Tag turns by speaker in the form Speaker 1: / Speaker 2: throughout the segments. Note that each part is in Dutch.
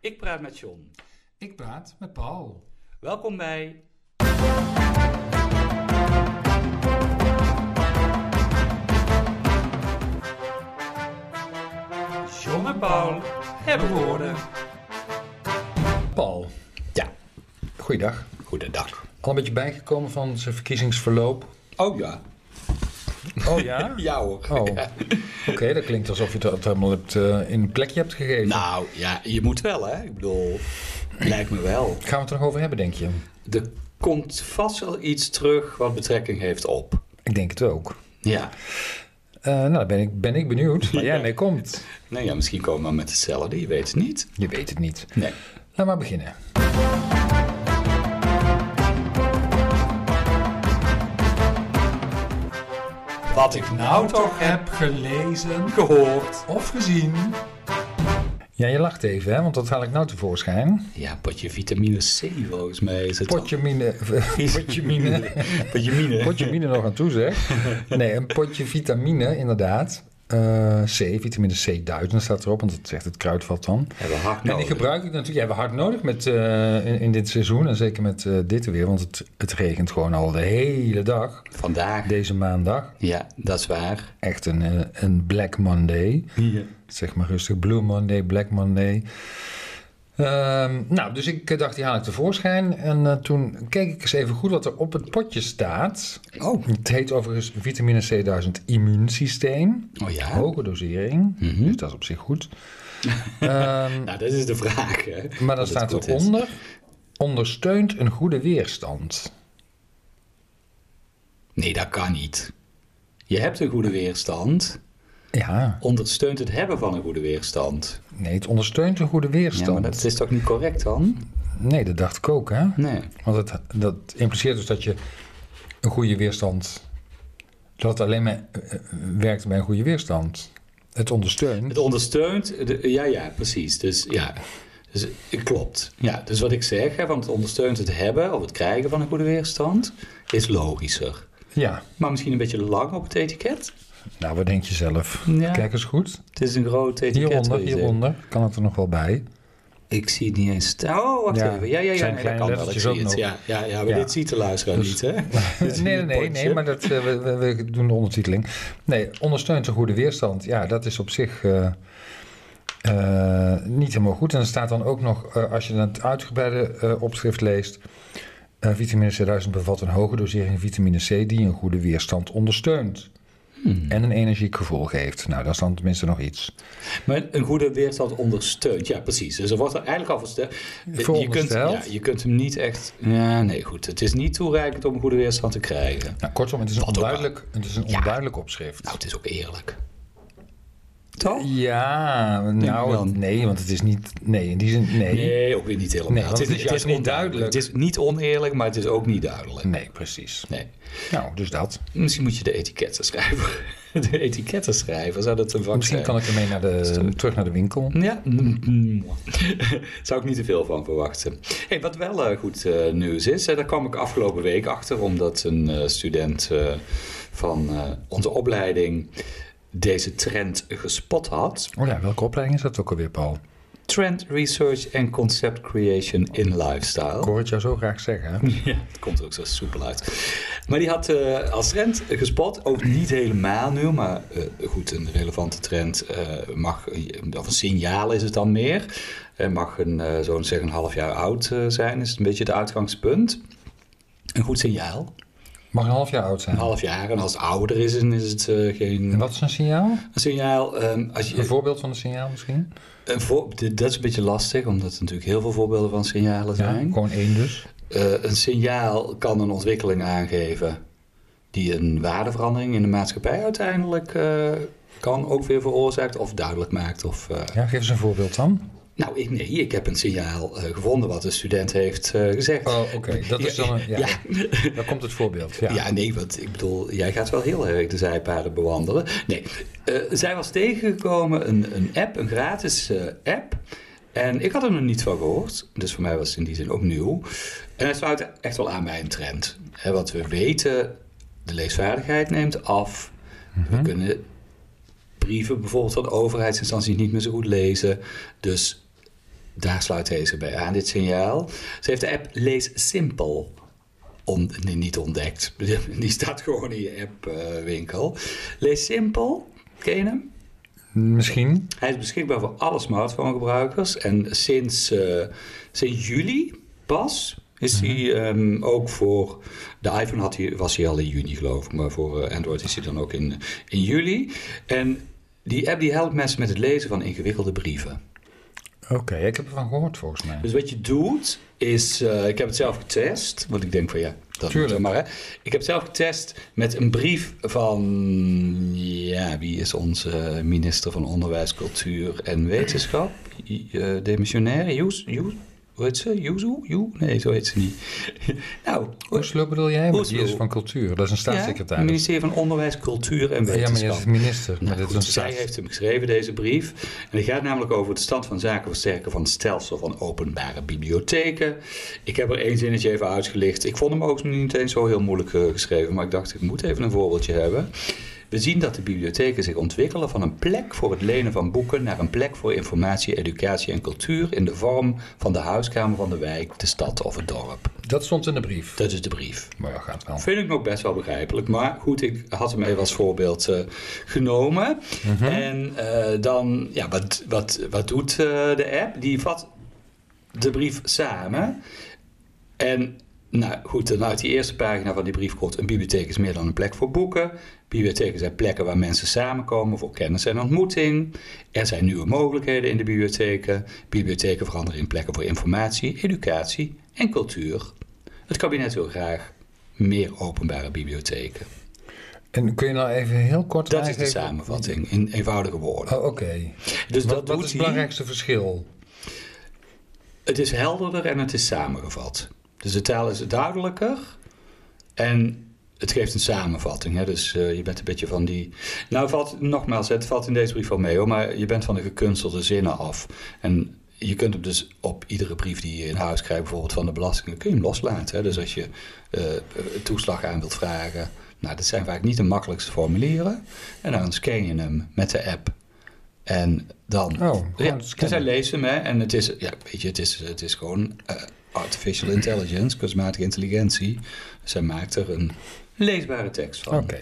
Speaker 1: Ik praat met John.
Speaker 2: Ik praat met Paul.
Speaker 1: Welkom bij. John en Paul hebben woorden.
Speaker 2: Paul,
Speaker 3: Ja, goeiedag.
Speaker 2: goedendag.
Speaker 3: Al een beetje bijgekomen van zijn verkiezingsverloop?
Speaker 2: Oh ja.
Speaker 3: Oh ja?
Speaker 2: Ja hoor.
Speaker 3: Oh, oké. dat klinkt alsof je dat helemaal hebt, eh, in een plekje hebt gegeven.
Speaker 2: Nou ja, je moet wel hè. Ik bedoel, lijkt me wel.
Speaker 3: Gaan we het er nog over hebben, denk je?
Speaker 2: Er komt vast wel iets terug wat betrekking heeft op.
Speaker 3: Ik denk het ook.
Speaker 2: Ja.
Speaker 3: Eh, nou, dan ben ik, ben ik benieuwd waar jij mee komt.
Speaker 2: Nou ja, misschien komen we met hetzelfde, je weet het niet.
Speaker 3: Je weet het niet.
Speaker 2: Nee.
Speaker 3: Laat maar beginnen.
Speaker 2: Wat ik nou toch heb
Speaker 1: Gelezen, gehoord.
Speaker 2: of gezien.
Speaker 3: Ja, je lacht even, hè, want dat haal ik nou tevoorschijn.
Speaker 2: Ja, potje vitamine C volgens mij is het.
Speaker 3: Potje mine... Potje mine...
Speaker 2: Potje mine.
Speaker 3: potje mine nog aan toe, zeg. Nee, een potje vitamine, inderdaad. Eh, C, vitamine C1000 staat erop, want dat zegt het kruidvat dan.
Speaker 2: Hebben we hard
Speaker 3: En die
Speaker 2: nodig.
Speaker 3: gebruik ik natuurlijk. Ja, we hard nodig met, eh, in, in dit seizoen en zeker met eh, dit weer, want het, het regent gewoon al de hele dag.
Speaker 2: Vandaag.
Speaker 3: Deze maandag.
Speaker 2: Ja, dat is waar.
Speaker 3: Echt een, eh, een Black Monday.
Speaker 2: Hier.
Speaker 3: Zeg maar rustig, Blue Monday, Black Monday. Ehm, nou, dus ik eh, dacht, die haal ik tevoorschijn. En eh, toen keek ik eens even goed wat er op het potje staat.
Speaker 2: Oh.
Speaker 3: Het heet overigens vitamine C1000 immuunsysteem.
Speaker 2: Oh ja.
Speaker 3: Hoge dosering,
Speaker 2: Mhm.
Speaker 3: dus dat is op zich goed. Ehm,
Speaker 2: Nou, dat is de vraag. Hè?
Speaker 3: maar dan
Speaker 2: Of het
Speaker 3: staat
Speaker 2: goed is.
Speaker 3: eronder, ondersteunt een goede weerstand.
Speaker 2: Nee, dat kan niet. Je hebt een goede weerstand.
Speaker 3: Ja,
Speaker 2: Ondersteunt het hebben van een goede weerstand.
Speaker 3: nee, het ondersteunt een goede
Speaker 2: Ja, maar
Speaker 3: weerstand.
Speaker 2: dat is toch niet correct dan?
Speaker 3: Nee, dat dacht ik ook, hè?
Speaker 2: Nee.
Speaker 3: Want het, dat impliceert dus dat je een goede weerstand. dat het alleen maar eh, eh, werkt bij een goede weerstand. Het ondersteunt.
Speaker 2: Het ondersteunt, de- ja, ja, precies. Dus ja, dus, eh, klopt. Ja, dus wat ik zeg, hè, want het ondersteunt het hebben of het krijgen van een goede weerstand, is logischer.
Speaker 3: Ja,
Speaker 2: Maar misschien een beetje lang op het etiket.
Speaker 3: nou wat denk je zelf?
Speaker 2: Ja.
Speaker 3: Kijk eens goed.
Speaker 2: Het is een groot etiket.
Speaker 3: Hieronder,
Speaker 2: wil je zeggen.
Speaker 3: hieronder kan het er nog wel bij.
Speaker 2: Ik zie het niet eens staan. Oh, wacht
Speaker 3: Ja,
Speaker 2: even. Ja, ja,
Speaker 3: het
Speaker 2: ja.
Speaker 3: zijn
Speaker 2: nee, dat
Speaker 3: kleine
Speaker 2: kan wel. Ik
Speaker 3: lettertjes
Speaker 2: zie
Speaker 3: ook
Speaker 2: het.
Speaker 3: nog.
Speaker 2: Ja, ja, ja, maar
Speaker 3: Ja. Dus
Speaker 2: dit ziet de luisteraar niet, hè?
Speaker 3: Nee, nee, nee, nee, maar dat, eh, we, we- we doen de ondertiteling. Nee, ondersteunt een goede weerstand. Ja, dat is op zich eh, eh, niet helemaal goed. En er staat dan ook nog, eh, als je dan het uitgebreide eh, opschrift leest... eh, vitamine C1000 bevat een hoge dosering vitamine C... die een goede weerstand ondersteunt.
Speaker 2: Hmm.
Speaker 3: En een energiek gevoel geeft. Nou, dat is dan tenminste nog iets.
Speaker 2: Maar een goede weerstand ondersteunt. Ja, precies. Dus er wordt er eigenlijk al versterkt. Je kunt, ja,
Speaker 3: Verondersteld.
Speaker 2: je kunt hem niet echt. Ja, nee, goed. Het is niet toereikend om een goede weerstand te krijgen.
Speaker 3: Nou, kortom, het is een,
Speaker 2: Wat ook wel.
Speaker 3: onduidelijk, het is een
Speaker 2: Ja.
Speaker 3: onduidelijk opschrift.
Speaker 2: Nou, het is ook eerlijk. Toch?
Speaker 3: ja,
Speaker 2: ik
Speaker 3: nou,
Speaker 2: dan.
Speaker 3: nee, want het is niet... Nee, in die zin,
Speaker 2: Nee, ook weer niet helemaal.
Speaker 3: Nee, want het is juist niet
Speaker 2: onduidelijk.
Speaker 3: duidelijk.
Speaker 2: Het is niet oneerlijk, maar het is ook niet duidelijk.
Speaker 3: Nee, precies.
Speaker 2: Nee.
Speaker 3: Nou, dus dat.
Speaker 2: Misschien moet je de etiketten schrijven. De etiketten schrijven, zou dat een vak
Speaker 3: Misschien
Speaker 2: zijn?
Speaker 3: kan ik ermee naar de, terug naar de winkel.
Speaker 2: Ja, mm, zou ik niet te veel van verwachten. Hey, wat wel eh, goed eh, nieuws is, en daar kwam ik afgelopen week achter, omdat een eh, student eh, van eh, onze opleiding deze trend gespot had.
Speaker 3: Oh ja, welke opleiding is dat ook alweer, Paul?
Speaker 2: Trend Research and Concept Creation in Lifestyle.
Speaker 3: Ik hoor het jou zo graag zeggen. hè?
Speaker 2: Ja, het komt er ook zo soepel uit. Maar die had eh, als trend gespot, ook niet helemaal nu, maar eh, goed, een relevante trend eh, mag, of een signaal is het dan meer, Eh, mag een, eh, zo'n zeg een half jaar oud eh, zijn, is een beetje het uitgangspunt. Een goed signaal,
Speaker 3: Mag een half jaar oud
Speaker 2: een
Speaker 3: zijn.
Speaker 2: half jaar. En als het ouder is, dan is het eh,
Speaker 3: En
Speaker 2: geen
Speaker 3: wat is een signaal?
Speaker 2: een signaal. ehm, als je,
Speaker 3: Een voorbeeld van een signaal misschien?
Speaker 2: een voor- dit- dat is een beetje lastig, omdat er natuurlijk heel veel voorbeelden van signalen
Speaker 3: Ja,
Speaker 2: zijn.
Speaker 3: gewoon één dus.
Speaker 2: Eh, een signaal kan een ontwikkeling aangeven die een waardeverandering in de maatschappij uiteindelijk eh, kan ook weer veroorzaakt of duidelijk maakt. Of, eh,
Speaker 3: Ja, geef eens een voorbeeld dan.
Speaker 2: Nou, ik, nee, ik heb een signaal eh, gevonden wat een student heeft eh, gezegd.
Speaker 3: Oh, oké. Dat is dan een... Ja,
Speaker 2: Ja.
Speaker 3: daar komt het voorbeeld.
Speaker 2: Ja.
Speaker 3: Ja.
Speaker 2: nee, want ik bedoel, jij gaat wel heel erg de zijpaden bewandelen. Nee, eh, zij was tegengekomen, een, een app, een gratis eh, app. En ik had er nog niet van gehoord, dus voor mij was het in die zin ook nieuw. En hij sluit echt wel aan bij een trend. Hè, wat we weten, de leesvaardigheid neemt af. We kunnen brieven bijvoorbeeld van overheidsinstanties niet meer zo goed lezen. Dus Daar sluit deze bij aan, dit signaal. Ze heeft de app Lees Simpel on- nee, niet ontdekt. Die staat gewoon in je app-winkel. Lees Simpel, ken je hem?
Speaker 3: Misschien.
Speaker 2: Hij is beschikbaar voor alle smartphonegebruikers. En sinds, eh, sinds juli pas is hij ehm, ook voor... De iPhone had hij, was hij al in juni geloof ik. Maar voor eh, Android is hij dan ook in, in juli. En die app die helpt mensen met het lezen van ingewikkelde brieven.
Speaker 3: Oké, ik heb ervan gehoord volgens mij.
Speaker 2: Dus wat je doet is, eh, ik heb het zelf getest, want ik denk van ja, dat
Speaker 3: Tuurlijk.
Speaker 2: moet maar. Hè. Ik heb het zelf getest met een brief van, ja, wie is onze minister van Onderwijs, Cultuur en Wetenschap? I- eh, Demissionaire, Joes, Joes, hoe heet ze? Joezoe? Joe? Nee, zo heet ze niet. nou,
Speaker 3: Oeslo bedoel jij? Maar die
Speaker 2: Oesloe.
Speaker 3: is van cultuur. Dat is een
Speaker 2: ja,
Speaker 3: staatssecretaris.
Speaker 2: ministerie van Onderwijs, Cultuur en
Speaker 3: Ja, maar
Speaker 2: Wetenschap.
Speaker 3: je is minister.
Speaker 2: Nou,
Speaker 3: Maar dit is
Speaker 2: goed,
Speaker 3: een
Speaker 2: zij
Speaker 3: staats...
Speaker 2: heeft hem geschreven, deze brief. En die gaat namelijk over de stand van zaken versterken van het stelsel van openbare bibliotheken. Ik heb er één zinnetje even uitgelicht. Ik vond hem ook niet eens zo heel moeilijk eh, geschreven, maar ik dacht, ik moet even een voorbeeldje hebben. We zien dat de bibliotheken zich ontwikkelen van een plek voor het lenen van boeken naar een plek voor informatie, educatie en cultuur in de vorm van de huiskamer van de wijk, de stad of het dorp.
Speaker 3: Dat stond in de brief.
Speaker 2: Dat is de brief.
Speaker 3: Maar ja, gaat wel.
Speaker 2: Vind ik nog best wel begrijpelijk. Maar goed, ik had hem even als voorbeeld eh, genomen. En eh, dan, ja, wat, wat, wat doet eh, de app? Die vat de brief samen. En nou goed, dan uit die eerste pagina van die brief komt... een bibliotheek is meer dan een plek voor boeken. Bibliotheken zijn plekken waar mensen samenkomen voor kennis en ontmoeting. Er zijn nieuwe mogelijkheden in de bibliotheken. Bibliotheken veranderen in plekken voor informatie, educatie en cultuur. Het kabinet wil graag meer openbare bibliotheken.
Speaker 3: En kun je nou even heel kort
Speaker 2: Dat is de
Speaker 3: aangeven-
Speaker 2: samenvatting, in eenvoudige woorden.
Speaker 3: Oh, Oké.
Speaker 2: Dus
Speaker 3: Wat,
Speaker 2: dat
Speaker 3: wat
Speaker 2: doet
Speaker 3: is het
Speaker 2: hij.
Speaker 3: belangrijkste verschil?
Speaker 2: Het is helderder en het is samengevat. Dus de taal is duidelijker en het geeft een samenvatting. Hè? Dus eh, je bent een beetje van die. Nou, valt, nogmaals, het valt in deze brief wel mee hoor, maar je bent van de gekunstelde zinnen af. En je kunt hem dus op iedere brief die je in huis krijgt, bijvoorbeeld van de belastingen, kun je hem loslaten. Hè? Dus als je eh, toeslag aan wilt vragen. Nou, dat zijn vaak niet de makkelijkste formulieren. En dan scan je hem met de app. En dan
Speaker 3: Oh, gewoon
Speaker 2: ja,
Speaker 3: scannen.
Speaker 2: dus hij leest hem, hè. En het is, ja, weet je, het is, het is gewoon eh, artificial intelligence, kunstmatige intelligentie. Dus hij maakt er een leesbare tekst van.
Speaker 3: Oké,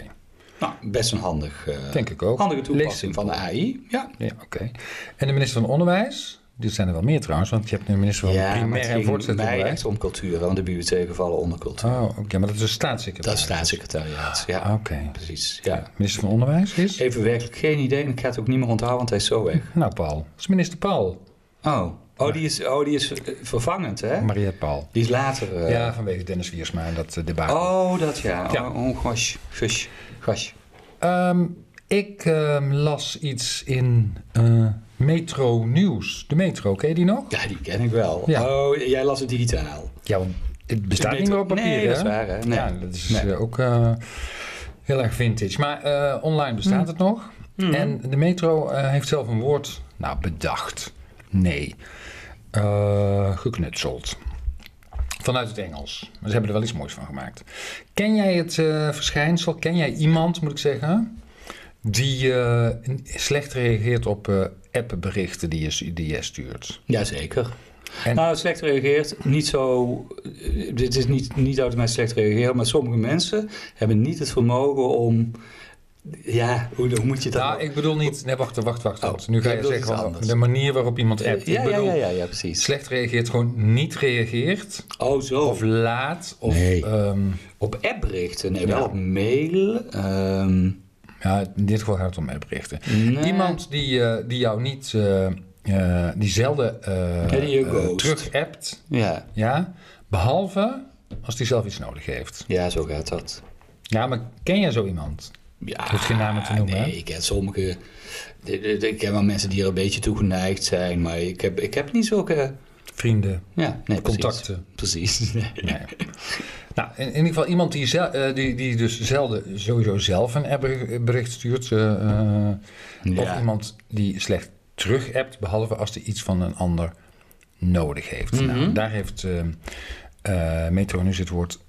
Speaker 2: Nou, best een handig, eh,
Speaker 3: denk ik ook.
Speaker 2: handige toepassing
Speaker 3: Lees-
Speaker 2: van de AI. Ja.
Speaker 3: Ja, oké. En de minister van Onderwijs? Dit zijn er wel meer trouwens, want je hebt nu de minister van
Speaker 2: maar het
Speaker 3: Primair en
Speaker 2: ging
Speaker 3: Voortgezet
Speaker 2: mij
Speaker 3: Onderwijs.
Speaker 2: echt om cultuur, want de bibliotheken vallen onder cultuur.
Speaker 3: Oh, oké, maar dat is een
Speaker 2: Dat is
Speaker 3: staatssecretaris. Ah,
Speaker 2: staatssecretariaat, ja,
Speaker 3: Oké.
Speaker 2: precies. Ja.
Speaker 3: Minister van Onderwijs is?
Speaker 2: Even werkelijk geen idee en ik ga het ook niet meer onthouden, want hij is zo weg.
Speaker 3: Nou, Paul. Dat is minister Paul.
Speaker 2: Oh, oh, die, is, oh die is eh, vervangend, hè?
Speaker 3: Mariette Paul.
Speaker 2: Die is later... eh,
Speaker 3: Ja, vanwege Dennis Wiersma en dat eh, debakel.
Speaker 2: Oh, dat ja.
Speaker 3: Ja.
Speaker 2: Oh, oh, gosh. Gush. Gosh.
Speaker 3: Ehm, ik ehm, las iets in eh, Metro Nieuws. De Metro, ken je die nog?
Speaker 2: Ja, die ken ik wel.
Speaker 3: Ja.
Speaker 2: Oh, jij las het digitaal.
Speaker 3: Ja, want het bestaat
Speaker 2: De
Speaker 3: niet meer op
Speaker 2: Metro-
Speaker 3: papier,
Speaker 2: Nee,
Speaker 3: hè?
Speaker 2: dat is waar, hè? Nee.
Speaker 3: Ja, dat is
Speaker 2: Nee.
Speaker 3: eh, ook eh, heel erg vintage. Maar eh, online bestaat
Speaker 2: Hm.
Speaker 3: het nog. En de Metro eh, heeft zelf een woord, nou, bedacht. Nee. Eh, geknutseld. Vanuit het Engels. Maar ze hebben er wel iets moois van gemaakt. Ken jij het eh, verschijnsel? Ken jij iemand, moet ik zeggen, die eh, slecht reageert op eh appberichten die je, die je stuurt?
Speaker 2: Jazeker.
Speaker 3: En-
Speaker 2: Nou, slecht reageert, niet zo... eh, Dit is niet, niet uit mijn slecht reageren, maar sommige mensen hebben niet het vermogen om... Ja, hoe, hoe moet je dat...
Speaker 3: Nou, ik bedoel niet. Nee, wacht, wacht, wacht. wacht.
Speaker 2: Oh,
Speaker 3: nu ga
Speaker 2: jij
Speaker 3: je
Speaker 2: bedoelt
Speaker 3: zeggen
Speaker 2: iets
Speaker 3: van
Speaker 2: anders.
Speaker 3: de manier waarop iemand
Speaker 2: ja,
Speaker 3: appt.
Speaker 2: ja,
Speaker 3: ik bedoel,
Speaker 2: ja, ja, ja, precies.
Speaker 3: slecht reageert, gewoon niet reageert.
Speaker 2: Oh, zo.
Speaker 3: Of laat. Of,
Speaker 2: Nee.
Speaker 3: ehm,
Speaker 2: op appberichten, nee, wel
Speaker 3: Ja.
Speaker 2: op mail. ehm,
Speaker 3: ja, in dit geval gaat het om appberichten.
Speaker 2: nee.
Speaker 3: Iemand die, eh, die jou niet. eh, eh, die zelden eh,
Speaker 2: Ja, die je
Speaker 3: eh,
Speaker 2: ghost.
Speaker 3: terug appt.
Speaker 2: Ja.
Speaker 3: Ja, behalve als die zelf iets nodig heeft.
Speaker 2: ja, zo gaat dat.
Speaker 3: Ja, maar ken jij zo iemand?
Speaker 2: Ja,
Speaker 3: hoeft geen namen te noemen, hè?
Speaker 2: Nee, ik ken sommige. de- de- de- Ik ken wel mensen die er een beetje toe geneigd zijn, maar ik heb, ik heb niet zulke.
Speaker 3: Vrienden,
Speaker 2: Ja, nee, precies.
Speaker 3: contacten.
Speaker 2: Precies. Nee.
Speaker 3: Nee. nou, in, in ieder geval iemand die, zel- eh, die, die dus zelden sowieso zelf een appbericht stuurt. eh, eh, Of
Speaker 2: Ja.
Speaker 3: iemand die slecht terug appt, behalve als hij iets van een ander nodig heeft. Nou, daar heeft eh eh, Metro nu het woord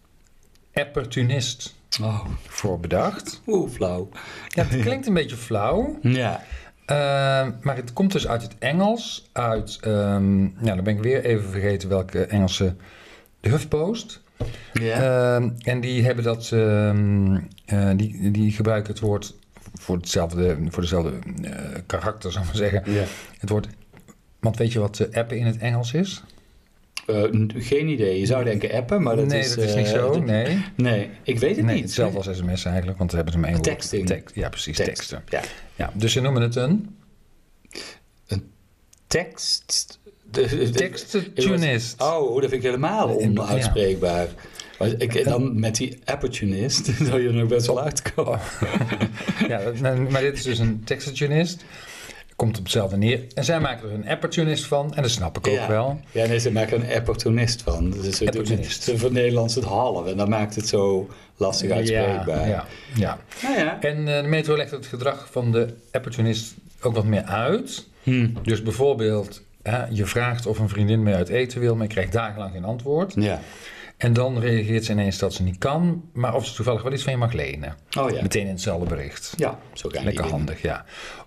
Speaker 3: opportunist
Speaker 2: Oh,
Speaker 3: voor bedacht.
Speaker 2: oeh, flauw.
Speaker 3: Ja, het klinkt een beetje flauw.
Speaker 2: Ja.
Speaker 3: Ehm, maar het komt dus uit het Engels, uit, ehm, nou dan ben ik weer even vergeten welke Engelse, de HuffPost.
Speaker 2: Ja.
Speaker 3: Ehm, en die hebben dat, ehm, eh, die, die gebruiken het woord voor hetzelfde, voor dezelfde eh, karakter, zou ik maar zeggen.
Speaker 2: ja.
Speaker 3: Het woord, want weet je wat eh, appen in het Engels is?
Speaker 2: Eh, n- geen idee. Je zou denken appen, maar dat
Speaker 3: nee,
Speaker 2: is...
Speaker 3: dat is
Speaker 2: eh,
Speaker 3: niet zo,
Speaker 2: dat-
Speaker 3: nee.
Speaker 2: Nee, ik weet het
Speaker 3: nee,
Speaker 2: niet.
Speaker 3: hetzelfde als sms eigenlijk, want we hebben het om één woord.
Speaker 2: Texting.
Speaker 3: Text- ja, precies,
Speaker 2: Tekst.
Speaker 3: teksten.
Speaker 2: Ja.
Speaker 3: Ja, dus ze noemen het een
Speaker 2: Tekst. de- de- de-
Speaker 3: tekstentunist.
Speaker 2: Oh, dat vind ik helemaal
Speaker 3: Ja.
Speaker 2: onuitspreekbaar. Maar ik, dan met die opportunist zou je er nog best wel uitkomen.
Speaker 3: Ja, dat- nee, maar dit is dus een textationist. Komt op hetzelfde neer. En zij maken er een appertunist van. En dat snap ik ook
Speaker 2: ja.
Speaker 3: wel.
Speaker 2: Ja, nee, ze maken er een opportunist van. Dus ze doen
Speaker 3: Opportunist.
Speaker 2: ze voor Nederlands het half en dat maakt het zo lastig uitspreekbaar.
Speaker 3: Ja, ja, ja.
Speaker 2: Nou ja.
Speaker 3: En eh, de metro legt het gedrag van de appertunist ook wat meer uit.
Speaker 2: Hm.
Speaker 3: Dus bijvoorbeeld, hè, je vraagt of een vriendin mee uit eten wil, maar je krijgt dagenlang geen antwoord.
Speaker 2: ja.
Speaker 3: En dan reageert ze ineens dat ze niet kan, maar of ze toevallig wel iets van je mag lenen.
Speaker 2: Oh ja.
Speaker 3: Meteen in hetzelfde bericht.
Speaker 2: Ja, zo gaan die
Speaker 3: Lekker
Speaker 2: dingen.
Speaker 3: handig, ja.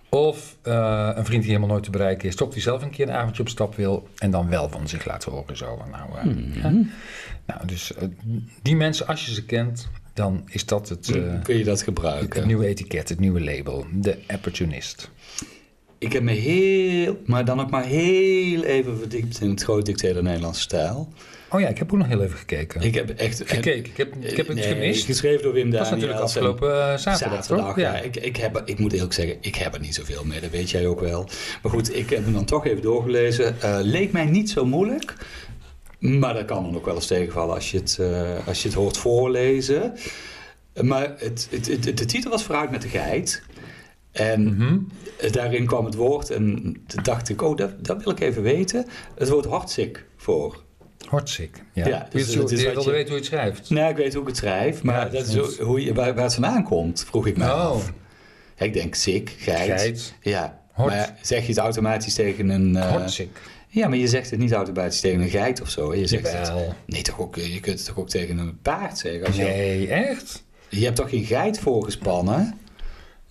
Speaker 3: Of eh, een vriend die helemaal nooit te bereiken is, toch die zelf een keer een avondje op stap wil en dan wel van zich laten horen. Zo. van, Nou, eh,
Speaker 2: Hmm.
Speaker 3: hè. nou, dus eh, die mensen, als je ze kent, dan is dat het, eh,
Speaker 2: Kun je dat gebruiken?
Speaker 3: het nieuwe etiket, het nieuwe label, de opportunist.
Speaker 2: Ik heb me heel, maar dan ook maar heel even verdiept in het groot dictator Nederlandse stijl.
Speaker 3: Oh ja, ik heb ook nog heel even gekeken.
Speaker 2: Ik heb echt...
Speaker 3: gekeken, ik heb, ik heb het
Speaker 2: Nee,
Speaker 3: gemist.
Speaker 2: Geschreven door Wim
Speaker 3: dat was
Speaker 2: Daniels.
Speaker 3: natuurlijk
Speaker 2: en-
Speaker 3: afgelopen eh, zaterdag,
Speaker 2: Zaterdag,
Speaker 3: toch?
Speaker 2: ja. Ik, ik, heb, ik moet eerlijk zeggen, ik heb er niet zoveel mee, dat weet jij ook wel. Maar goed, ik heb hem dan toch even doorgelezen. Eh, leek mij niet zo moeilijk, maar dat kan dan ook wel eens tegenvallen als je het, eh, als je het hoort voorlezen. Maar het, het, het- de titel was Vooruit met de geit. En
Speaker 3: Mhm.
Speaker 2: daarin kwam het woord en toen dacht ik, oh, dat, dat wil ik even weten. Het woord hartziek voor.
Speaker 3: Hartstikke. Ja.
Speaker 2: Ja, dus
Speaker 3: je,
Speaker 2: het is
Speaker 3: je
Speaker 2: wat
Speaker 3: wilde
Speaker 2: je-
Speaker 3: weten hoe je het schrijft.
Speaker 2: Nou, ik weet hoe ik het schrijf, maar
Speaker 3: Ja,
Speaker 2: dat is
Speaker 3: soms.
Speaker 2: ook hoe je, waar, waar het vandaan komt, vroeg ik me
Speaker 3: Oh,
Speaker 2: af. Ik denk ziek,
Speaker 3: geit.
Speaker 2: ja,
Speaker 3: Hort.
Speaker 2: maar zeg je het automatisch tegen een... eh,
Speaker 3: Hartstikke.
Speaker 2: ja, maar je zegt het niet automatisch tegen een geit of zo. hè? Je zegt het,
Speaker 3: Jawel.
Speaker 2: nee, toch ook, eh, je kunt het toch ook tegen een paard zeggen? Als je,
Speaker 3: Nee, echt?
Speaker 2: je hebt toch geen geit voorgespannen?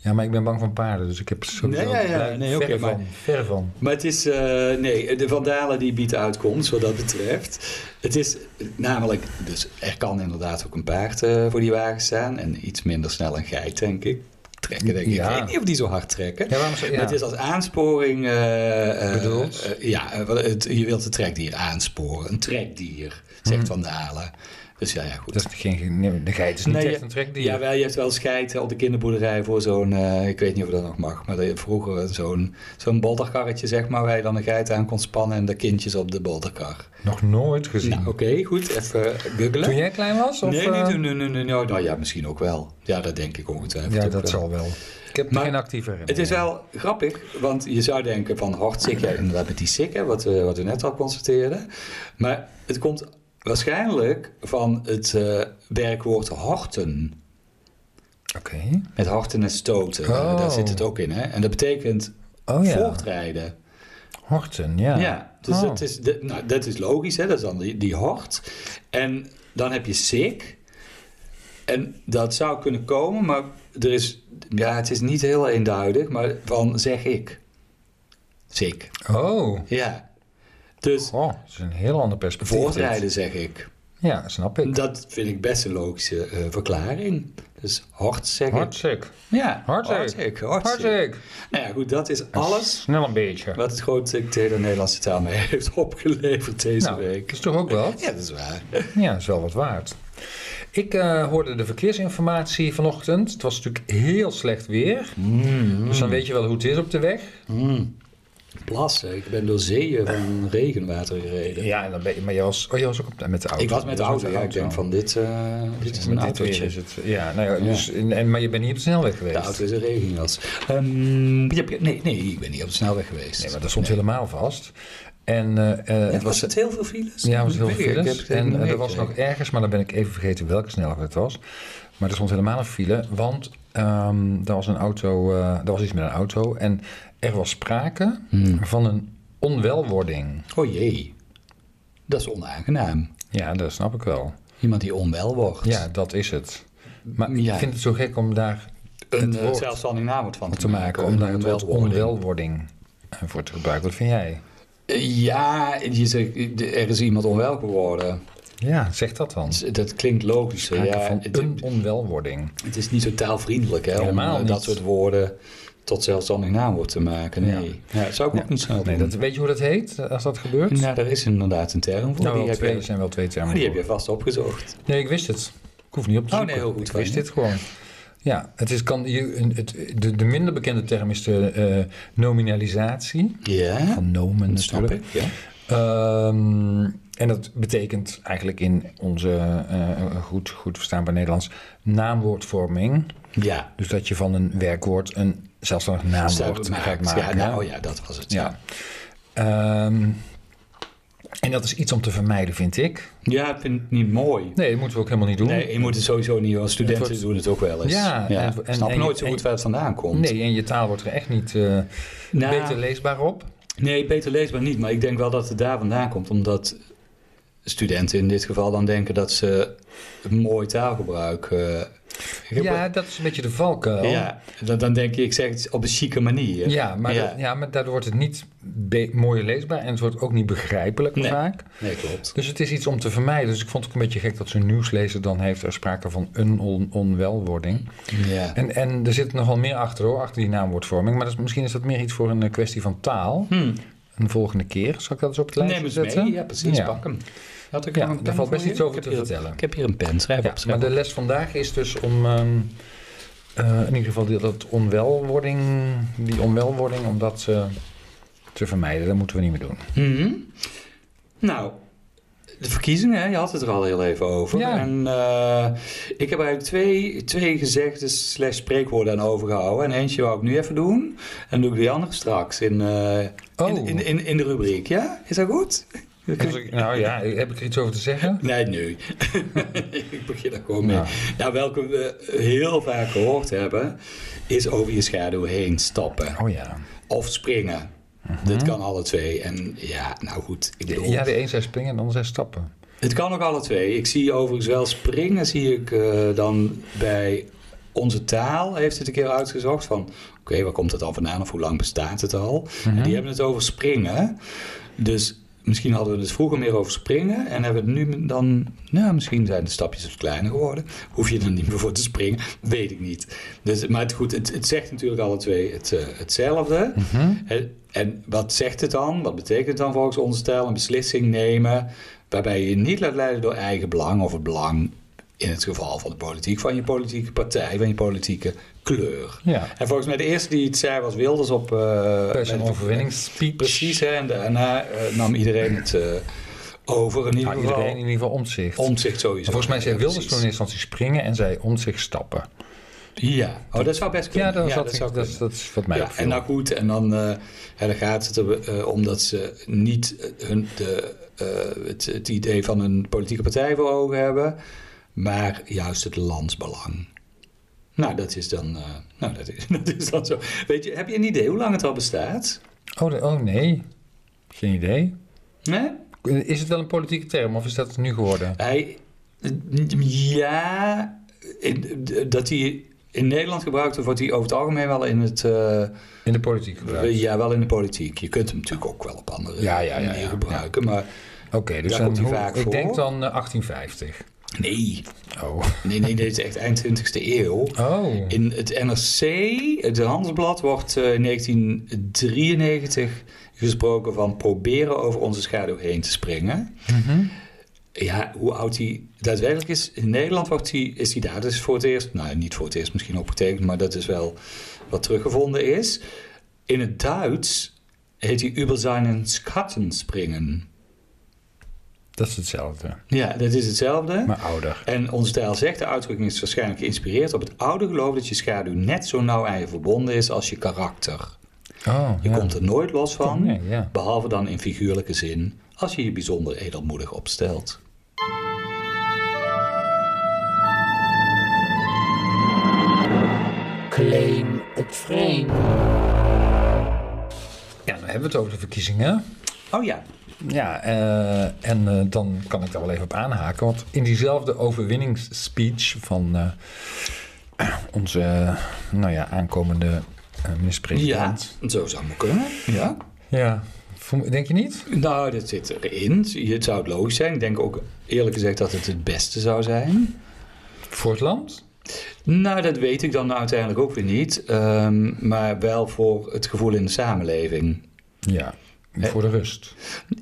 Speaker 3: Ja, maar ik ben bang van paarden, dus ik heb er sowieso
Speaker 2: Nee, ja, ja,
Speaker 3: blij-
Speaker 2: nee,
Speaker 3: ver
Speaker 2: oké,
Speaker 3: van.
Speaker 2: maar-
Speaker 3: Ver van.
Speaker 2: Maar het is, eh, nee, de vandalen die biedt uitkomst wat dat betreft. Het is namelijk, dus er kan inderdaad ook een paard eh, voor die wagen staan. En iets minder snel een geit, denk ik. Trekken, denk ik.
Speaker 3: Ja.
Speaker 2: Ik weet niet of die zo hard trekken.
Speaker 3: Ja, waarom zou- ja.
Speaker 2: Maar het is als aansporing... eh, eh,
Speaker 3: Bedoeld?
Speaker 2: eh, ja, eh, wat- het- je wilt een trekdier aansporen. Een trekdier,
Speaker 3: Mhm.
Speaker 2: zegt Van Dalen. Dus ja, ja goed.
Speaker 3: Dat is geen, nee, de geit is niet
Speaker 2: Nee,
Speaker 3: echt
Speaker 2: ja-
Speaker 3: een trekdier.
Speaker 2: Ja, wel, je hebt wel scheiden op de kinderboerderij voor zo'n, eh, ik weet niet of dat nog mag, maar dat je vroeger zo'n, zo'n bolderkarretje, zeg maar, waar je dan een geit aan kon spannen en de kindjes op de bolderkar.
Speaker 3: Nog nooit gezien.
Speaker 2: Nou, oké, goed, even googelen.
Speaker 3: toen jij klein was? eh, Of,
Speaker 2: nee, nee,
Speaker 3: eh,
Speaker 2: nee, nee, nee, nee, nou, nou ja, misschien ook wel. Ja, dat denk ik ongetwijfeld.
Speaker 3: Ja,
Speaker 2: ook
Speaker 3: dat
Speaker 2: wel.
Speaker 3: zal wel. Ik heb
Speaker 2: Maar
Speaker 3: geen actieve
Speaker 2: Het is wel grappig, want je zou denken van hartstikke, ja, inderdaad met die sikke, wat, we- wat we net al constateerden. Maar het komt waarschijnlijk van het eh, werkwoord horten.
Speaker 3: Oké.
Speaker 2: Met harten en stoten, eh,
Speaker 3: Oh.
Speaker 2: daar zit het ook in. Hè? En dat betekent
Speaker 3: Oh ja,
Speaker 2: voortrijden.
Speaker 3: horten, ja.
Speaker 2: Ja, dus
Speaker 3: Oh.
Speaker 2: dat, is, dat, nou, dat is logisch, hè? dat is dan die, die hort. En dan heb je sick. En dat zou kunnen komen, maar er is, ja, het is niet heel eenduidig, maar van zeg ik. Sick.
Speaker 3: Oh.
Speaker 2: Ja. Dus
Speaker 3: Oh, dat is een heel ander perspectief. dit.
Speaker 2: voortrijden zeg ik.
Speaker 3: Ja, snap ik.
Speaker 2: Dat vind ik best een logische eh, verklaring. Dus hort zeg ik.
Speaker 3: Hartstikke.
Speaker 2: Ja,
Speaker 3: Hartstikke.
Speaker 2: hartstikke, hartstikke.
Speaker 3: Hartstikke.
Speaker 2: Nou ja, goed, dat is alles
Speaker 3: Snel een beetje.
Speaker 2: Wat het groot dictator Nederlandse taal mee heeft opgeleverd deze
Speaker 3: Nou,
Speaker 2: week.
Speaker 3: is toch ook wel?
Speaker 2: Ja, dat is waar.
Speaker 3: Ja, is wel wat waard. Ik eh, hoorde de verkeersinformatie vanochtend. Het was natuurlijk heel slecht weer. Dus dan weet je wel hoe het is op de weg.
Speaker 2: Plassen. Ik ben door zeeën van regenwater gereden.
Speaker 3: Ja, en dan ben je, maar jij was, oh, jij was ook op, met de auto.
Speaker 2: Ik was met de
Speaker 3: Je
Speaker 2: auto. Ja, ik denk van dit, eh, dit is een
Speaker 3: Met dit weer
Speaker 2: autootje.
Speaker 3: is het. Ja, nou ja, dus, en, en- maar je bent niet op de snelweg geweest.
Speaker 2: De auto is een regenjas. Ehm, ja, nee, nee, ik ben niet op de snelweg geweest.
Speaker 3: Nee, maar dat stond helemaal vast. En eh, eh,
Speaker 2: het was het heel veel files.
Speaker 3: Ja, het was heel
Speaker 2: Ik
Speaker 3: veel
Speaker 2: weet het, ik heb
Speaker 3: files.
Speaker 2: het
Speaker 3: En
Speaker 2: niet
Speaker 3: eh, er was nog
Speaker 2: meegekregen.
Speaker 3: ergens, maar dan ben ik even vergeten welke snelweg het was. Maar er stond helemaal een file, want ehm er was een auto, eh, er was iets met een auto. En er was sprake van een onwelwording.
Speaker 2: Oh jee. Dat is onaangenaam.
Speaker 3: Ja, dat snap ik wel.
Speaker 2: Iemand die onwel wordt.
Speaker 3: Ja, dat is het. Maar
Speaker 2: Ja.
Speaker 3: ik vind het zo gek om daar
Speaker 2: een
Speaker 3: Het
Speaker 2: eh,
Speaker 3: woord.
Speaker 2: zelfstandig naamwoord van
Speaker 3: te maken om
Speaker 2: Een
Speaker 3: daar het woord
Speaker 2: welwording.
Speaker 3: onwelwording eh, voor te gebruiken. Wat vind jij?
Speaker 2: Eh, Ja, je zegt, eh, er is iemand onwel geworden.
Speaker 3: Ja, zeg dat dan.
Speaker 2: Dus Dat klinkt logisch.
Speaker 3: Sprake
Speaker 2: Ja,
Speaker 3: van
Speaker 2: het,
Speaker 3: een onwelwording.
Speaker 2: het is niet zo taalvriendelijk hè, om
Speaker 3: Helemaal
Speaker 2: eh, dat
Speaker 3: niet.
Speaker 2: soort woorden tot zelfstandig naamwoord te maken. Nee, ja. dat zou ik ook niet snel
Speaker 3: Nee,
Speaker 2: doen.
Speaker 3: dat, weet je hoe dat heet eh, als dat gebeurt?
Speaker 2: Nou, daar is inderdaad een term
Speaker 3: Nou,
Speaker 2: voor. die,
Speaker 3: wel
Speaker 2: heb
Speaker 3: twee, er
Speaker 2: je,
Speaker 3: zijn wel twee termen.
Speaker 2: Ah, die heb
Speaker 3: voor.
Speaker 2: je vast opgezocht.
Speaker 3: Nee, ik wist het. Ik hoef niet op te
Speaker 2: Oh,
Speaker 3: zoeken.
Speaker 2: nee, heel goed
Speaker 3: Ik
Speaker 2: van
Speaker 3: wist
Speaker 2: je.
Speaker 3: dit gewoon. Ja, het is, kan, je- een- het, de, de minder bekende term is de eh, nominalisatie.
Speaker 2: Ja,
Speaker 3: Van nomen
Speaker 2: dat snap
Speaker 3: natuurlijk.
Speaker 2: ik. Ja.
Speaker 3: Ehm, en dat betekent eigenlijk in onze eh, goed, goed verstaanbaar Nederlands naamwoordvorming.
Speaker 2: ja.
Speaker 3: Dus dat je van een werkwoord een zelfstandig naamwoord gaat
Speaker 2: Maakt.
Speaker 3: maken.
Speaker 2: Ja, nou ja, dat was het.
Speaker 3: Ja. Ehm, en dat is iets om te vermijden, vind ik.
Speaker 2: Ja, ik vind het niet mooi.
Speaker 3: Nee, dat moeten we ook helemaal niet doen.
Speaker 2: Nee, je moet het sowieso niet, want studenten
Speaker 3: Het wordt-
Speaker 2: doen het ook wel eens.
Speaker 3: Ja, en- en-
Speaker 2: snap
Speaker 3: en-
Speaker 2: nooit zo
Speaker 3: en-
Speaker 2: goed waar het vandaan komt.
Speaker 3: Nee, en je taal wordt er echt niet eh,
Speaker 2: Nou,
Speaker 3: beter leesbaar op.
Speaker 2: nee, beter leesbaar niet, maar ik denk wel dat het daar vandaan komt, omdat studenten in dit geval dan denken dat ze mooi taalgebruik eh, gebru-
Speaker 3: Ja, dat is een beetje de valkuil.
Speaker 2: ja dan, dan denk je, ik zeg het op een chique manier.
Speaker 3: Ja, maar,
Speaker 2: Ja.
Speaker 3: dat- ja, maar daardoor wordt het niet be- mooier leesbaar en het wordt ook niet begrijpelijk
Speaker 2: Nee.
Speaker 3: vaak.
Speaker 2: Nee, klopt.
Speaker 3: Dus het is iets om te vermijden. Dus ik vond het ook een beetje gek dat zo'n nieuwslezer dan heeft er sprake van een on- onwelwording.
Speaker 2: Ja.
Speaker 3: En, en er zit nogal meer achter hoor, achter die naamwoordvorming. Maar dat is, misschien is dat meer iets voor een eh, kwestie van taal.
Speaker 2: Hm,
Speaker 3: Een volgende keer. Zal ik dat eens op het lijstje
Speaker 2: neem eens
Speaker 3: zetten?
Speaker 2: mee, ja precies,
Speaker 3: Ja.
Speaker 2: pak hem. Had ik
Speaker 3: Ja,
Speaker 2: nog een
Speaker 3: daar
Speaker 2: pen
Speaker 3: valt
Speaker 2: voor
Speaker 3: best
Speaker 2: je?
Speaker 3: iets over
Speaker 2: Ik
Speaker 3: te
Speaker 2: heb hier-
Speaker 3: vertellen.
Speaker 2: Ik heb hier een pen, schrijf
Speaker 3: Ja,
Speaker 2: op. schrijf
Speaker 3: maar de
Speaker 2: op.
Speaker 3: les vandaag is dus om ehm, eh, in ieder geval die, dat onwelwording, die onwelwording, om dat eh, te vermijden. Dat moeten we niet meer doen.
Speaker 2: Mhm. Nou, de verkiezingen, hè, je had het er al heel even over.
Speaker 3: Ja.
Speaker 2: En eh, ik heb er eigenlijk twee, twee gezegden slash spreekwoorden aan overgehouden. En eentje wou ik nu even doen. En doe ik die andere straks in, eh,
Speaker 3: Oh.
Speaker 2: in, in, in, in de rubriek. Ja, is dat goed?
Speaker 3: Dus ik- nou ja, heb ik er iets over te zeggen?
Speaker 2: Nee, nee. ik begin er gewoon mee.
Speaker 3: Ja.
Speaker 2: Nou, welke we heel vaak gehoord hebben, is over je schaduw heen stappen.
Speaker 3: Oh ja.
Speaker 2: Of springen. Dit kan alle twee. En ja, nou goed. Ik bedoel,
Speaker 3: Mhm. Ja, de een zei springen en de ander zei stappen.
Speaker 2: Het kan ook alle twee. Ik zie overigens wel springen, zie ik eh, dan bij onze taal, heeft het een keer uitgezocht van, oké, waar komt het al vandaan of hoe lang bestaat het al? En die hebben het over springen. Dus misschien hadden we het vroeger meer over springen en hebben we het nu dan, nou, misschien zijn de stapjes wat kleiner geworden. Hoef je er niet meer voor te springen, weet ik niet. Dus, maar het, goed, het, het zegt natuurlijk alle twee het, eh, hetzelfde. En- En wat zegt het dan? Wat betekent het dan volgens ons stijl? Een beslissing nemen waarbij je je niet laat leiden door eigen belang of het belang in het geval van de politiek van je politieke partij, van je politieke kleur.
Speaker 3: Ja.
Speaker 2: En volgens mij de eerste die het zei was Wilders op... eh,
Speaker 3: Bij zijn
Speaker 2: met-
Speaker 3: overwinningsspeech.
Speaker 2: Precies, hè, en daarna eh, nam iedereen het eh, over. In ieder
Speaker 3: Nou,
Speaker 2: geval
Speaker 3: iedereen in ieder geval omzicht.
Speaker 2: omzicht sowieso.
Speaker 3: Maar volgens mij zei
Speaker 2: Ja,
Speaker 3: Wilders toen in
Speaker 2: precies.
Speaker 3: eerste instantie springen en zei omzicht stappen.
Speaker 2: Ja, oh, dat zou best kunnen.
Speaker 3: Ja, dat, was dat,
Speaker 2: zou
Speaker 3: dat, is-
Speaker 2: kunnen.
Speaker 3: dat is wat mij
Speaker 2: Ja,
Speaker 3: opviel.
Speaker 2: en nou goed, en dan, eh, hè, dan gaat het er eh, om dat ze niet eh, hun, de, eh, het, het idee van een politieke partij voor ogen hebben, maar juist het landsbelang. Nou, dat is dan, eh, nou, dat is, dat is dan zo. Weet je, heb je een idee hoe lang het al bestaat?
Speaker 3: oh, de- oh nee, geen idee.
Speaker 2: Nee?
Speaker 3: Is het wel een politieke term of is dat het nu geworden?
Speaker 2: Hij, ja, in- dat hij in Nederland gebruikt wordt, wordt hij over het algemeen wel in het, eh,
Speaker 3: In de politiek gebruikt.
Speaker 2: ja, wel in de politiek. Je kunt hem natuurlijk ook wel op andere
Speaker 3: Ja, ja, ja,
Speaker 2: manieren
Speaker 3: ja.
Speaker 2: gebruiken, maar
Speaker 3: Oké, dus
Speaker 2: Daar
Speaker 3: dan,
Speaker 2: komt hij
Speaker 3: hoe-
Speaker 2: vaak
Speaker 3: ik
Speaker 2: voor.
Speaker 3: denk dan eh, 1850.
Speaker 2: nee,
Speaker 3: Oh.
Speaker 2: nee, nee, dit is echt eind 20e eeuw.
Speaker 3: Oh.
Speaker 2: In het NRC, het Handelsblad, wordt eh, in 1993 gesproken van proberen over onze schaduw heen te springen.
Speaker 3: Mhm.
Speaker 2: Ja, hoe oud hij daadwerkelijk is. In Nederland wordt die, is hij daar dus voor het eerst. Nou, niet voor het eerst misschien ook betekend, maar dat is wel wat teruggevonden is. In het Duits heet hij über seinen Schatten springen.
Speaker 3: Dat is hetzelfde,
Speaker 2: Ja, dat is hetzelfde.
Speaker 3: maar ouder.
Speaker 2: En onze stijl zegt, de uitdrukking is waarschijnlijk geïnspireerd op het oude geloof dat je schaduw net zo nauw aan je verbonden is als je karakter.
Speaker 3: Oh,
Speaker 2: Je
Speaker 3: ja.
Speaker 2: komt er nooit los van,
Speaker 3: Nee, ja.
Speaker 2: behalve dan in figuurlijke zin, als je je bijzonder edelmoedig opstelt.
Speaker 4: Claim het frame.
Speaker 3: ja, dan hebben we het over de verkiezingen.
Speaker 2: Oh ja,
Speaker 3: Ja, eh, en eh, dan kan ik daar wel even op aanhaken. Want in diezelfde overwinningsspeech van eh, onze eh, nou ja, aankomende eh
Speaker 2: Ja,
Speaker 3: minister-president.
Speaker 2: zo zou het kunnen. Ja.
Speaker 3: Ja. Vo- Denk je niet?
Speaker 2: Nou, dat zit erin. Het zou het logisch zijn. Ik denk ook eerlijk gezegd dat het het beste zou zijn.
Speaker 3: Voor het land?
Speaker 2: Nou, dat weet ik dan uiteindelijk ook weer niet. Ehm, maar wel voor het gevoel in de samenleving.
Speaker 3: Ja. Voor de rust.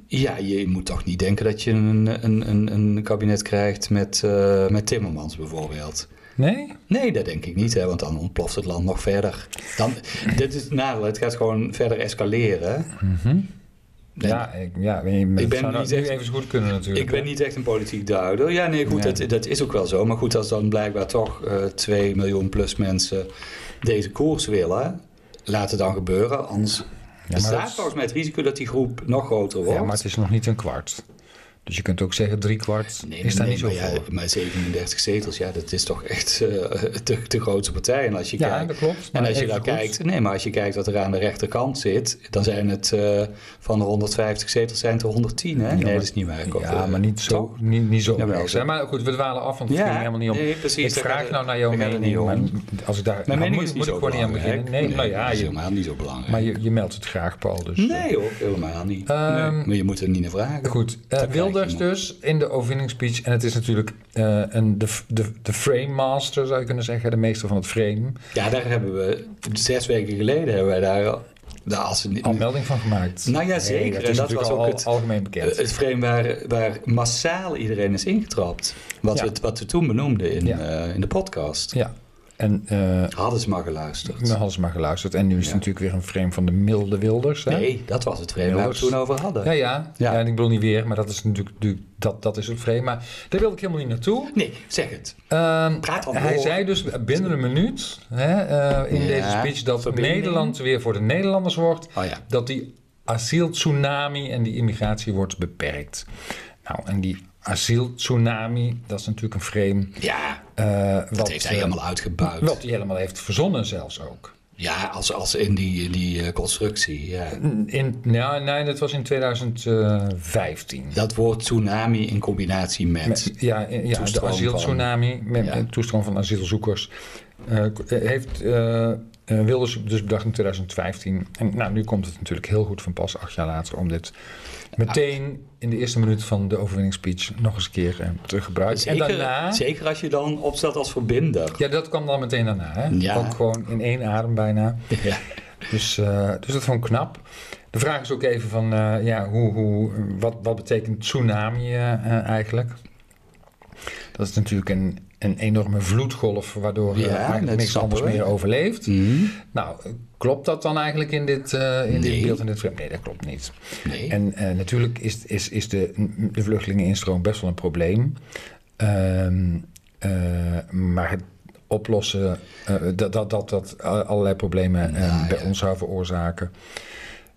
Speaker 2: Ja, je moet toch niet denken dat je een, een, een, een kabinet krijgt met, eh, met Timmermans bijvoorbeeld.
Speaker 3: Nee?
Speaker 2: Nee, dat denk ik niet, hè, want dan ontploft het land nog verder. Dan, dit is het nadeel, het gaat gewoon verder escaleren. Nee.
Speaker 3: Ja, ik, ja, ik ben,
Speaker 2: Ik ben
Speaker 3: zou nou- dat
Speaker 2: niet
Speaker 3: nu
Speaker 2: echt-
Speaker 3: even zo goed kunnen natuurlijk.
Speaker 2: Ik ben
Speaker 3: hè?
Speaker 2: niet echt een politiek duider. Ja, nee, goed,
Speaker 3: Nee.
Speaker 2: Dat, dat is ook wel zo. Maar goed, als dan blijkbaar toch eh 2 miljoen plus mensen deze koers willen, laat het dan gebeuren. Anders
Speaker 3: dat
Speaker 2: bestaat
Speaker 3: is-
Speaker 2: volgens mij het risico dat die groep nog groter wordt.
Speaker 3: Ja, maar het is nog niet een kwart. Dus je kunt ook zeggen drie kwart
Speaker 2: Nee,
Speaker 3: is daar
Speaker 2: nee,
Speaker 3: niet zo
Speaker 2: maar, ja,
Speaker 3: voor.
Speaker 2: maar 37 zetels, ja, dat is toch echt eh, de, de grootste partij. En als je
Speaker 3: Ja,
Speaker 2: kijkt,
Speaker 3: dat klopt,
Speaker 2: En
Speaker 3: maar
Speaker 2: als je
Speaker 3: even
Speaker 2: dan
Speaker 3: goed.
Speaker 2: kijkt, nee, maar als je kijkt wat er aan de rechterkant zit, dan zijn het eh, van de 150 zetels zijn het er 110, hè? nee,
Speaker 3: maar-
Speaker 2: dat is niet waar. ik over-
Speaker 3: Ja, maar niet zo,
Speaker 2: Toch?
Speaker 3: niet, niet zo
Speaker 2: Jawel,
Speaker 3: erg,
Speaker 2: zo.
Speaker 3: hè. Maar goed, we dwalen af, want het
Speaker 2: Ja,
Speaker 3: ging helemaal niet om.
Speaker 2: nee, precies,
Speaker 3: ik
Speaker 2: daar
Speaker 3: vraag
Speaker 2: gaat
Speaker 3: nou
Speaker 2: het-
Speaker 3: naar jouw
Speaker 2: daar gaat het
Speaker 3: mening.
Speaker 2: niet
Speaker 3: maar als ik daar,
Speaker 2: Mijn
Speaker 3: nou,
Speaker 2: mening
Speaker 3: moet,
Speaker 2: is niet
Speaker 3: moet
Speaker 2: zo
Speaker 3: ik gewoon niet aan
Speaker 2: belangrijk.
Speaker 3: beginnen. Nee, nou ja,
Speaker 2: dat is
Speaker 3: je,
Speaker 2: helemaal niet zo belangrijk.
Speaker 3: maar je, je meldt het graag, Paul. Dus, eh,
Speaker 2: Nee hoor, helemaal niet.
Speaker 3: Ehm,
Speaker 2: Nee, maar je moet er niet naar vragen.
Speaker 3: Goed, eh,
Speaker 2: krijg je
Speaker 3: Wilders
Speaker 2: nog.
Speaker 3: dus in de overwinningsspeech. En het is natuurlijk eh, een, de, de, de frame master, zou je kunnen zeggen. De meester van het frame.
Speaker 2: Ja, daar hebben we zes weken geleden hebben wij daar, al- daar als een,
Speaker 3: Al melding van gemaakt.
Speaker 2: Nou ja,
Speaker 3: Nee,
Speaker 2: zeker.
Speaker 3: dat
Speaker 2: En
Speaker 3: is
Speaker 2: dat
Speaker 3: natuurlijk
Speaker 2: was ook
Speaker 3: al
Speaker 2: het-
Speaker 3: algemeen bekend.
Speaker 2: Eh, het frame waar, waar massaal iedereen is ingetrapt. Wat,
Speaker 3: Ja.
Speaker 2: we, wat we toen benoemden in,
Speaker 3: Ja.
Speaker 2: eh, in de podcast.
Speaker 3: ja. En eh,
Speaker 2: Hadden ze maar geluisterd.
Speaker 3: Nou, hadden ze maar geluisterd. En nu is het
Speaker 2: Ja.
Speaker 3: natuurlijk weer een frame van de milde Wilders. Hè?
Speaker 2: Nee, dat was het frame waar we het
Speaker 3: Wilders.
Speaker 2: toen over hadden.
Speaker 3: Ja, ja.
Speaker 2: Ja.
Speaker 3: ja. en ik bedoel niet weer, maar dat is natuurlijk, natuurlijk- dat, dat is het frame. Maar daar wilde ik helemaal niet naartoe.
Speaker 2: Nee, zeg het.
Speaker 3: Ehm,
Speaker 2: Praat dan
Speaker 3: hij
Speaker 2: door.
Speaker 3: zei dus binnen een minuut hè, eh, in
Speaker 2: Ja,
Speaker 3: deze speech dat
Speaker 2: verbinding.
Speaker 3: Nederland weer voor de Nederlanders wordt.
Speaker 2: Oh ja.
Speaker 3: Dat die asieltsunami en die immigratie wordt beperkt. Nou, en die asieltsunami, dat is natuurlijk een frame.
Speaker 2: Ja,
Speaker 3: eh, wat,
Speaker 2: dat heeft hij
Speaker 3: eh,
Speaker 2: helemaal uitgebuit.
Speaker 3: wat hij helemaal heeft verzonnen zelfs ook.
Speaker 2: Ja, als, als in die, in die eh, constructie. Ja.
Speaker 3: In, nou, nee, dat was in 2015.
Speaker 2: Dat woord tsunami in combinatie met.
Speaker 3: Met- ja, in- ja de
Speaker 2: toestroom
Speaker 3: asieltsunami, met,
Speaker 2: ja.
Speaker 3: met toestroom van asielzoekers, eh, k- eh, heeft eh, eh, Wilders dus bedacht in 2015. En nou, nu komt het natuurlijk heel goed van pas, acht jaar later, om dit meteen in de eerste minuut van de overwinningsspeech nog eens een keer eh, te gebruiken.
Speaker 2: zeker,
Speaker 3: en daarna,
Speaker 2: zeker als je dan opstelt als verbinder.
Speaker 3: ja, dat kwam dan meteen daarna, hè?
Speaker 2: Ja.
Speaker 3: ook gewoon in één adem bijna.
Speaker 2: Ja.
Speaker 3: Dus, eh, dus dat vond ik knap. De vraag is ook even van, eh, ja, hoe, hoe, wat, wat betekent tsunami eh, eh, eigenlijk? Dat is natuurlijk een, een enorme vloedgolf waardoor eh,
Speaker 2: Ja, dat
Speaker 3: eigenlijk niks
Speaker 2: snappen
Speaker 3: anders
Speaker 2: we.
Speaker 3: meer overleeft.
Speaker 2: Mhm.
Speaker 3: Nou, eh, klopt dat dan eigenlijk in dit, eh, in
Speaker 2: Nee.
Speaker 3: dit beeld? In dit, frame? nee, dat klopt niet.
Speaker 2: Nee.
Speaker 3: En eh, natuurlijk is, is, is de, de vluchtelingeninstroom best wel een probleem. Ehm, eh, maar het oplossen eh, dat, dat, dat, dat allerlei problemen eh,
Speaker 2: Ja,
Speaker 3: bij
Speaker 2: ja.
Speaker 3: ons zou veroorzaken.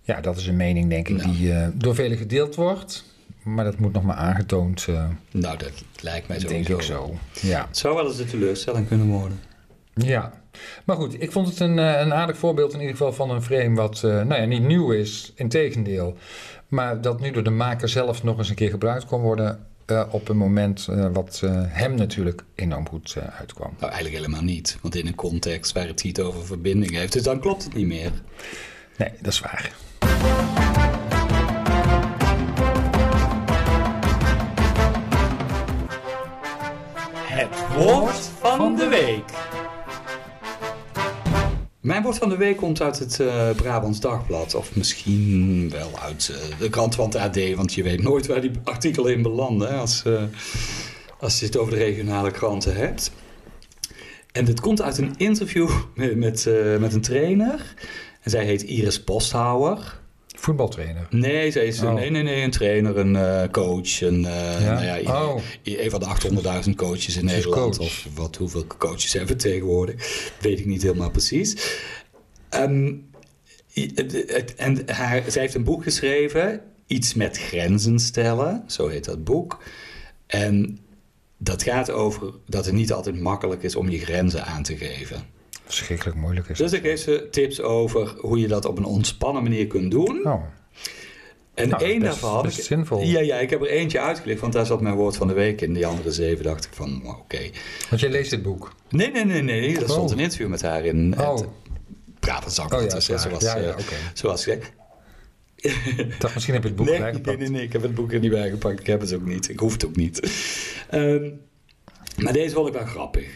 Speaker 3: Ja, dat is een mening, denk ik, die eh, door velen gedeeld wordt. Maar dat moet nog maar aangetoond, eh
Speaker 2: Nou, dat lijkt mij
Speaker 3: denk
Speaker 2: sowieso.
Speaker 3: ik zo. Ja.
Speaker 2: Het zou wel eens een teleurstelling kunnen worden.
Speaker 3: Ja, maar goed, ik vond het een, eh, een aardig voorbeeld in ieder geval van een frame wat eh, nou ja, niet nieuw is, integendeel. Maar dat nu door de maker zelf nog eens een keer gebruikt kon worden eh, op een moment eh, wat eh, hem natuurlijk enorm goed eh, uitkwam.
Speaker 2: Nou, eigenlijk helemaal niet. Want in een context waar het niet over verbinding heeft, dus dan klopt het niet meer.
Speaker 3: Nee, dat is waar.
Speaker 1: Het woord van de week.
Speaker 2: Mijn woord van de week komt uit het eh, Brabants Dagblad. Of misschien wel uit eh, de krant van het AD. Want je weet nooit waar die artikelen in belanden. hè, Als, eh, als je het over de regionale kranten hebt. En dit komt uit een interview met, met, eh, met een trainer. En zij heet Iris Posthouwer.
Speaker 3: Voetbaltrainer.
Speaker 2: Nee, zij is een,
Speaker 3: Oh.
Speaker 2: nee, nee, nee, een trainer, een eh, coach. Een, eh,
Speaker 3: Ja?
Speaker 2: Nou ja, i-
Speaker 3: Oh.
Speaker 2: i- een van de 800.000 coaches in
Speaker 3: is
Speaker 2: Nederland.
Speaker 3: coach.
Speaker 2: Of wat, hoeveel coaches hebben we tegenwoordig? Weet ik niet helemaal precies. Ehm, i- het- het- en haar, zij heeft een boek geschreven, Iets met grenzen stellen, zo heet dat boek. En dat gaat over dat het niet altijd makkelijk is om je grenzen aan te geven.
Speaker 3: Verschrikkelijk moeilijk is
Speaker 2: Dus
Speaker 3: het.
Speaker 2: Dus- ik geef ze tips over hoe je dat op een ontspannen manier kunt doen.
Speaker 3: Oh,
Speaker 2: En
Speaker 3: Nou,
Speaker 2: één
Speaker 3: best-
Speaker 2: daarvan had
Speaker 3: best
Speaker 2: ik-
Speaker 3: zinvol.
Speaker 2: Ja, ja, ik heb er eentje uitgelicht, want daar zat mijn woord van de week in. Die andere zeven dacht ik van, oké.
Speaker 3: Want jij leest dit boek.
Speaker 2: Nee, nee, nee, nee. Er stond
Speaker 3: Oh.
Speaker 2: een interview met haar in. eh,
Speaker 3: Oh,
Speaker 2: Het, ja, dat zou ik
Speaker 3: Oh,
Speaker 2: oh,
Speaker 3: ja,
Speaker 2: zeggen.
Speaker 3: klaar.
Speaker 2: Zoals,
Speaker 3: Ja, ja,
Speaker 2: eh,
Speaker 3: oké.
Speaker 2: zoals gezegd.
Speaker 3: ik dacht, misschien heb je het boek
Speaker 2: Nee,
Speaker 3: erbij
Speaker 2: nee,
Speaker 3: gepakt.
Speaker 2: nee, nee, ik heb het boek er niet bij gepakt. Ik heb het ook niet. Ik hoef het ook niet. Ehm, maar deze vond ik wel grappig.